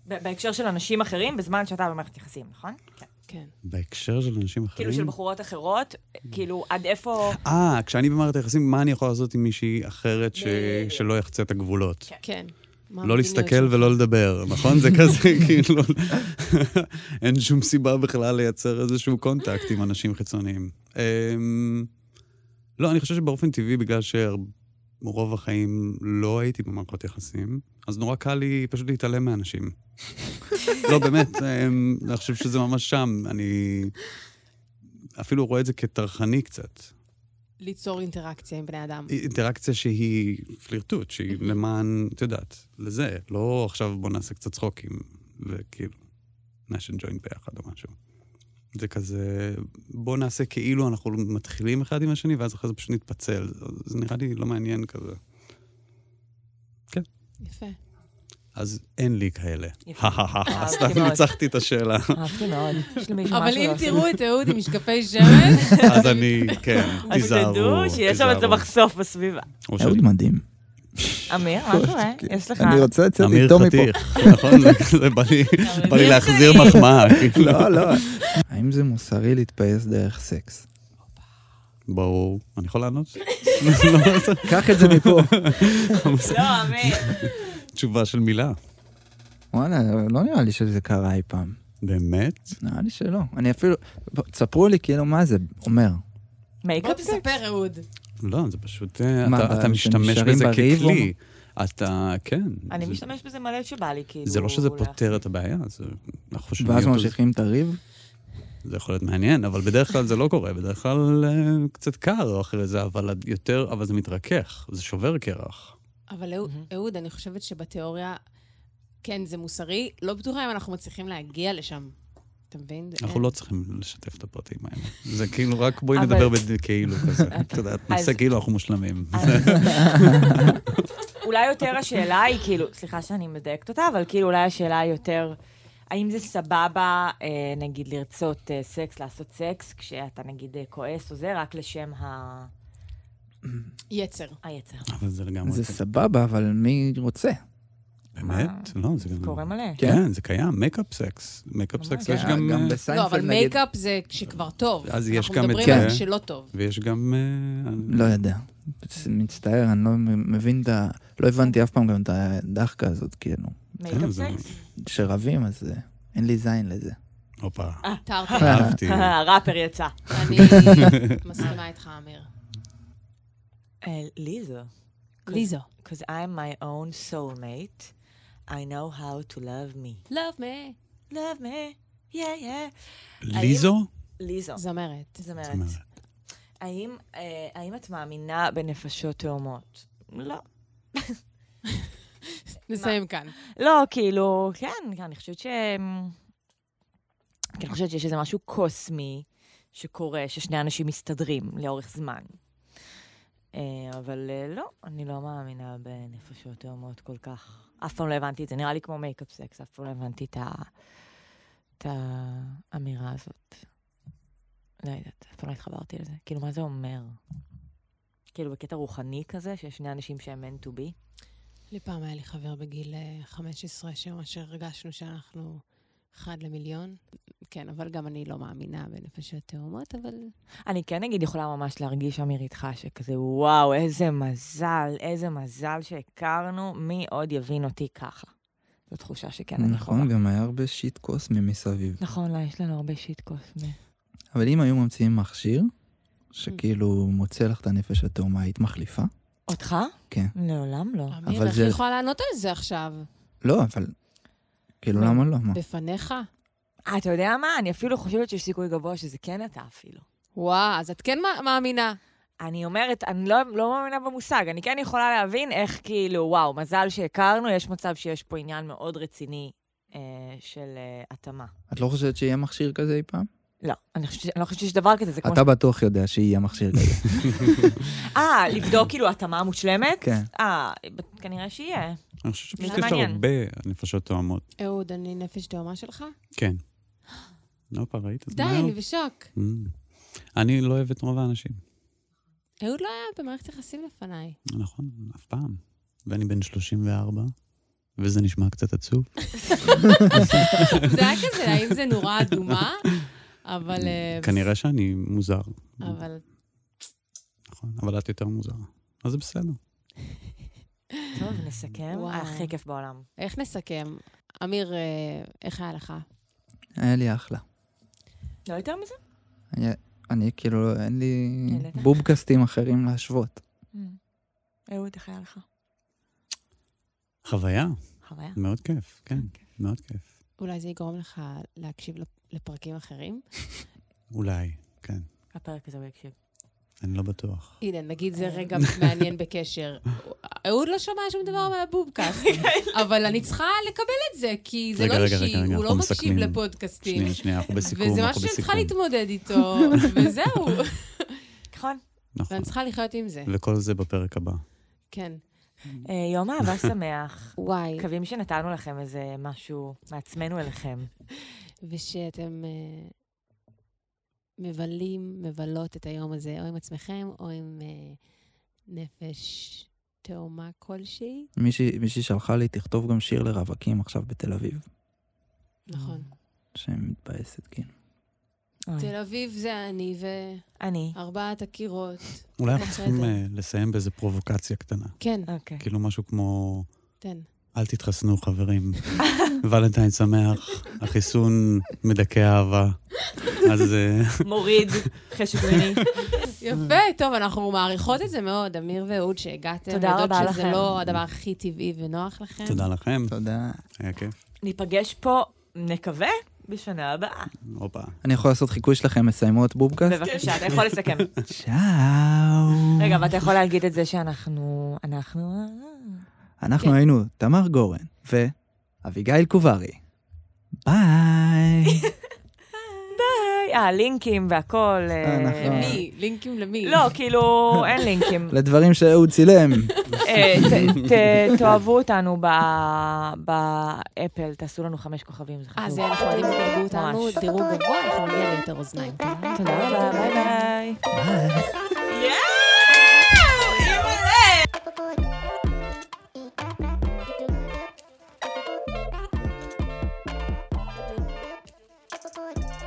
Speaker 1: ב- בהקשר של אנשים אחרים, בזמן שאתה במערכת יחסים, נכון? כן.
Speaker 2: כן.
Speaker 3: בהקשר של אנשים אחרים...
Speaker 1: כאילו של בחורות אחרות, כאילו עד
Speaker 3: <laughs>
Speaker 1: איפה...
Speaker 3: אה, כשאני במערכת היחסים, מה אני יכול לעשות עם מישהי אחרת ש-
Speaker 1: בדיוק.
Speaker 3: שלא יחצה את הגבולות?
Speaker 2: כן. מה
Speaker 3: לא
Speaker 2: המדיניות
Speaker 3: להסתכל
Speaker 2: שלך?
Speaker 3: ולא לדבר, נכון? זה
Speaker 2: <laughs>
Speaker 3: כזה, כאילו, אין שום סיבה בכלל לייצר איזשהו קונטקט עם אנשים חיצוניים. אמ, לא, אני חושב שבאופן טבעי, בגלל שרוב החיים לא הייתי במערכות יחסים, אז נורא קל לי פשוט
Speaker 2: <laughs>
Speaker 3: להתעלם מאנשים. לא, באמת, אמ, אני חושב שזה ממש שם. אני אפילו רואה את זה כטרחני קצת.
Speaker 2: ליצור אינטראקציה עם בני אדם.
Speaker 3: אינטראקציה שהיא פלירטוט, שהיא
Speaker 1: אוקיי.
Speaker 3: למען, את יודעת, לזה. לא עכשיו בוא נעשה קצת צחוקים, וכאילו, נשן ג'וינט ביחד או משהו. זה כזה, בוא נעשה כאילו אנחנו מתחילים אחד עם השני, ואז אחרי זה פשוט נתפצל. זה נראה לי לא מעניין כזה.
Speaker 2: יפה.
Speaker 3: אז אין לי כאלה. <laughs>
Speaker 1: יפה.
Speaker 3: הא
Speaker 1: אהבתי
Speaker 3: סתם
Speaker 1: אה, אוקיי, מאוד.
Speaker 3: ניצחתי
Speaker 1: <laughs>
Speaker 3: את השאלה. <laughs>
Speaker 1: אהבתי מאוד. יש למישהו
Speaker 2: אבל
Speaker 1: משהו לא
Speaker 2: אם
Speaker 1: להוסיף.
Speaker 2: תראו את אהוד עם
Speaker 3: <laughs>
Speaker 2: משקפי שמש,
Speaker 3: אז אני, כן,
Speaker 1: אז
Speaker 3: תיזהרו.
Speaker 1: תדעו שיש שם איזה
Speaker 3: תיזהרו.
Speaker 1: מחשוף בסביבה.
Speaker 3: או שאני-
Speaker 5: אהוד מדהים.
Speaker 1: אמיר,
Speaker 5: <laughs>
Speaker 1: מה קורה? יש לך...
Speaker 5: אוקיי. אני רוצה לצאת
Speaker 3: אמיר
Speaker 5: איתו מפה.
Speaker 3: חתיך, <laughs> נכון? זה כזה בא
Speaker 1: <laughs>
Speaker 3: לי- בא לי להחזיר מחמאה. <laughs> כאילו.
Speaker 5: לא, לא. האם זה מוסרי להתפייס דרך סקס?
Speaker 3: ברור. אני
Speaker 1: <laughs>
Speaker 3: יכול לענות?
Speaker 5: קח את זה מפה.
Speaker 1: לא, אמיר.
Speaker 3: תשובה של מילה.
Speaker 5: וואלה, לא נראה לי שזה קרה אי פעם.
Speaker 3: באמת?
Speaker 5: נראה לי שלא. אני אפילו... בוא, תספרו לי כאילו מה זה אומר.
Speaker 2: בוא
Speaker 1: מייקאפ סקס?
Speaker 2: תספר, אהוד.
Speaker 3: לא, זה פשוט... אה,
Speaker 5: מה,
Speaker 3: אתה, אתה
Speaker 5: אתם
Speaker 3: משתמש
Speaker 5: נשארים
Speaker 3: בזה
Speaker 5: בריב או
Speaker 3: ככלי. אתה, כן.
Speaker 1: אני
Speaker 3: זה-
Speaker 1: משתמש בזה מלא שבא לי, כאילו...
Speaker 3: זה לא שזה
Speaker 1: לה-
Speaker 3: פותר את הבעיה, זה... אנחנו חושבים
Speaker 5: ואז
Speaker 3: אותו-
Speaker 5: ממשיכים את הריב?
Speaker 3: זה יכול להיות מעניין, אבל בדרך כלל זה לא קורה, בדרך כלל אה, קצת קר אחרי זה, אבל עד יותר, אבל זה מתרכך, זה שובר קרח.
Speaker 2: אבל אהו-
Speaker 1: מהמם.
Speaker 2: אהוד, אני חושבת שבתיאוריה, כן, זה מוסרי, לא בטוחה אם אנחנו מצליחים להגיע לשם. אתה מבין?
Speaker 1: כן.
Speaker 3: אנחנו
Speaker 2: אה,
Speaker 3: לא צריכים לשתף את הפרטים האלה. זה כאילו רק בואי
Speaker 1: אבל-
Speaker 3: נדבר בכאילו
Speaker 1: <laughs>
Speaker 3: כזה. את יודעת, נעשה
Speaker 1: אז-
Speaker 3: כאילו אנחנו
Speaker 1: <laughs>
Speaker 3: מושלמים.
Speaker 1: אולי יותר השאלה היא, כאילו, סליחה שאני מדייקת אותה, אבל כאילו אולי השאלה היא יותר, האם זה סבבה, אה, נגיד, לרצות אה, סקס, לעשות סקס, כשאתה נגיד אה, כועס או זה, רק לשם ה...
Speaker 2: אה, יצר. לא,
Speaker 1: היצר.
Speaker 3: אבל זה לגמרי... כן.
Speaker 5: זה
Speaker 3: כזה.
Speaker 5: סבבה, אבל מי רוצה?
Speaker 3: באמת? לא, זה גם...
Speaker 1: אה, קורה מלא.
Speaker 3: כן, זה קיים, מייקאפ סקס. מייקאפ סקס יש
Speaker 5: כן,
Speaker 3: גם... אה,
Speaker 2: לא,
Speaker 5: בסיינפלד
Speaker 2: אבל
Speaker 5: נגיד-
Speaker 2: מייקאפ זה כשכבר טוב.
Speaker 3: אז יש גם
Speaker 2: אנחנו
Speaker 3: את
Speaker 2: מדברים על
Speaker 3: זה. כן.
Speaker 2: כשלא טוב.
Speaker 3: ויש גם... אה,
Speaker 5: לא יודע. מצטער, אני לא מבין את ה... לא הבנתי אף פעם גם את הדחקה הזאת, כאילו.
Speaker 1: מייקאפ
Speaker 3: כן, זה-
Speaker 1: סקס?
Speaker 5: כשרבים, אז אה, אין לי זין לזה.
Speaker 3: הופה,
Speaker 2: אה, תרתי.
Speaker 3: אהבתי.
Speaker 1: <laughs>
Speaker 2: אה,
Speaker 1: הראפר יצא.
Speaker 3: <laughs>
Speaker 2: אני מסכימה איתך, אמיר.
Speaker 1: ליזו.
Speaker 2: ליזו.
Speaker 1: Because אה, I'm my own soulmate. I know how to love me.
Speaker 2: Love me.
Speaker 1: Love me. Yeah, yeah.
Speaker 3: ליזו?
Speaker 1: ליזו.
Speaker 2: זמרת.
Speaker 1: זמרת.
Speaker 3: זמרת.
Speaker 1: האם, אה, האם את מאמינה בנפשות תאומות? לא.
Speaker 2: נסיים כאן.
Speaker 1: לא, כאילו, כן, אני חושבת ש... כי אני חושבת שיש איזה משהו קוסמי שקורה, ששני אנשים מסתדרים לאורך זמן. אה, אבל אה, לא, אני לא מאמינה בנפשות תאומות כל כך. אף פעם לא הבנתי את זה, נראה לי כמו מייקאפ סקס, אף פעם לא הבנתי את, ה... את האמירה הזאת. לא יודעת, אף פעם לא התחברתי לזה. כאילו, מה זה אומר? כאילו, בקטע רוחני כזה, שיש שני אנשים שהם meant to be?
Speaker 2: לי פעם היה לי חבר בגיל אה, 15, שממש הרגשנו שאנחנו אחד למיליון. כן, אבל גם אני לא מאמינה בנפשות תאומות, אבל...
Speaker 1: אני כן, נגיד, יכולה ממש להרגיש, אמיר, איתך, שכזה, וואו, איזה מזל, איזה מזל שהכרנו, מי עוד יבין אותי ככה? זו תחושה שכן
Speaker 2: כן,
Speaker 1: אני חווה.
Speaker 5: נכון, גם היה הרבה שיט קוסמי מסביב.
Speaker 1: נכון, לא, יש לנו הרבה שיט קוסמי.
Speaker 5: אבל אם היו ממציאים מכשיר,
Speaker 2: Mm.
Speaker 5: שכאילו מוצא לך את הנפש התאומה, היית מחליפה?
Speaker 1: אותך?
Speaker 5: כן.
Speaker 1: לעולם לא.
Speaker 3: אה.
Speaker 2: אמיר,
Speaker 5: אבל
Speaker 2: איך
Speaker 5: זה-
Speaker 2: היא יכולה לענות על זה עכשיו?
Speaker 5: לא, אבל... כאילו, למה לא? מה?
Speaker 2: בפניך?
Speaker 1: אה, אתה יודע מה? אני אפילו חושבת שיש סיכוי גבוה שזה כן אתה אפילו.
Speaker 2: וואו, אז את כן מא- מאמינה.
Speaker 1: אני אומרת, אני לא, לא מאמינה במושג, אני כן יכולה להבין איך כאילו, וואו, מזל שהכרנו, יש מצב שיש פה עניין מאוד רציני אה, של אה, התאמה.
Speaker 5: את לא חושבת שיהיה מכשיר כזה אי פעם?
Speaker 1: לא, אני חושבת אני לא חושבת שיש דבר כזה, זה כמו...
Speaker 5: אתה בטוח יודע שיהיה מכשיר <laughs> כזה.
Speaker 1: ש- אה, לבדוק כאילו התאמה מושלמת?
Speaker 5: כן.
Speaker 1: אה, ב- כנראה שיהיה.
Speaker 3: אני חושב שפשוט
Speaker 1: זה
Speaker 3: יש
Speaker 1: מעניין.
Speaker 3: הרבה נפשות תואמות.
Speaker 2: אהוד, אני נפש תאומה שלך?
Speaker 3: כן. לא, הופה, ראית? את
Speaker 2: די,
Speaker 3: מה?
Speaker 2: אני בשוק.
Speaker 3: Mm. אני לא אוהב את רוב האנשים,
Speaker 2: אהוד לא היה במערכת יחסים לפניי.
Speaker 3: נכון, אף פעם. ואני בן 34, וזה נשמע קצת עצוב.
Speaker 2: זה היה כזה, <laughs> האם זה נורה אדומה? אבל... אה,
Speaker 3: כנראה שאני מוזר,
Speaker 2: אבל
Speaker 3: נכון, אבל את יותר מוזרה. אז זה בסדר.
Speaker 1: טוב, נסכם.
Speaker 2: וואו.
Speaker 1: היה הכי כיף בעולם.
Speaker 2: איך נסכם? אמיר, אה, איך היה לך?
Speaker 5: היה לי אחלה.
Speaker 1: לא יותר מזה?
Speaker 5: אני- אני כאילו, אין לי
Speaker 1: העלית?
Speaker 5: בובקסטים אחרים להשוות.
Speaker 1: Mm. אהוד, איך היה לך?
Speaker 3: חוויה,
Speaker 1: חוויה?
Speaker 3: מאוד כיף, כן,
Speaker 2: אוקיי.
Speaker 3: מאוד כיף.
Speaker 2: אולי זה יגרום לך להקשיב לפ- לפרקים אחרים?
Speaker 3: אולי, כן,
Speaker 1: הפרק הזה הוא יקשיב.
Speaker 3: אני לא בטוח.
Speaker 2: הנה, נגיד זה רגע מעניין בקשר. אהוד לא שמע שום דבר מהבובקאסט, אבל אני צריכה לקבל את זה, כי זה
Speaker 3: רגע,
Speaker 2: לא
Speaker 3: רגע,
Speaker 2: אישי,
Speaker 3: רגע, רגע,
Speaker 2: הוא לא
Speaker 3: אנחנו
Speaker 2: מקשיב
Speaker 3: מסכמים.
Speaker 2: לפודקאסטים.
Speaker 3: שנייה, שנייה, אנחנו בסיכום,
Speaker 2: וזה
Speaker 3: אנחנו
Speaker 2: משהו שאני צריכה
Speaker 3: בסיכום.
Speaker 2: להתמודד
Speaker 3: <laughs>
Speaker 2: איתו, וזהו.
Speaker 1: נכון.
Speaker 3: נכון,
Speaker 2: ואני צריכה לחיות עם זה,
Speaker 3: וכל זה בפרק הבא.
Speaker 2: כן.
Speaker 1: אה, יום אהבה שמח.
Speaker 2: וואי,
Speaker 1: מקווים שנתנו לכם איזה משהו מעצמנו אליכם.
Speaker 2: ושאתם אה, מבלים, מבלות את היום הזה, או עם עצמכם, או עם אה, נפש תאומה כלשהי.
Speaker 5: מישהי מישהי שלחה לי, תכתוב גם שיר לרווקים עכשיו בתל אביב,
Speaker 2: נכון.
Speaker 5: שמתבאסת, כאילו.
Speaker 1: אוי,
Speaker 2: תל אביב זה אני
Speaker 1: אני.
Speaker 2: וארבעת הקירות.
Speaker 3: אולי אנחנו צריכים
Speaker 2: בסדר.
Speaker 3: אה, לסיים באיזו פרובוקציה קטנה.
Speaker 2: כן,
Speaker 1: אוקיי.
Speaker 3: כאילו משהו כמו...
Speaker 2: תן.
Speaker 3: אל תתחסנו,
Speaker 2: <laughs>
Speaker 3: חברים. ולנטיין שמח, החיסון מדכא אהבה. אז אה,
Speaker 1: מוריד חשק מיני.
Speaker 2: יפה, טוב, אנחנו מעריכות את זה מאוד, אמיר ואהוד, שהגעתם.
Speaker 1: תודה
Speaker 2: יודעות
Speaker 1: רבה
Speaker 2: שזה
Speaker 1: לכם.
Speaker 2: לא הדבר הכי טבעי ונוח לכם.
Speaker 3: תודה לכם,
Speaker 5: תודה.
Speaker 3: היה כיף.
Speaker 1: ניפגש פה, נקווה, בשנה הבאה.
Speaker 3: הופה.
Speaker 5: אני יכול לעשות חיקוי שלכם, מסיימות בובקאסט?
Speaker 1: בבקשה, אתה יכול לסכם.
Speaker 5: צ'או.
Speaker 1: רגע, אבל אתה יכול להגיד את זה שאנחנו... אנחנו... כן.
Speaker 5: אנחנו היינו תמר גורן ואביגיל קוברי.
Speaker 1: <laughs>
Speaker 5: ביי.
Speaker 1: היי, אה, לינקים והכל. אה,
Speaker 5: נכון.
Speaker 2: למי? לינקים למי?
Speaker 1: לא, כאילו, אין
Speaker 5: <laughs>
Speaker 1: לינקים.
Speaker 5: לדברים שהוא צילם.
Speaker 1: אה,
Speaker 5: <laughs>
Speaker 1: ת- ת- תאהבו אותנו ב- באפל, תעשו לנו חמש כוכבים, זה חשוב.
Speaker 2: אה, זה אנחנו יודעים, תדרגו אותנו,
Speaker 1: ממש.
Speaker 2: דירוג גבוה, אנחנו נגיע ליותר אוזניים. תודה.
Speaker 1: תודה רבה, ביי ביי.
Speaker 5: ביי.
Speaker 6: Thank you.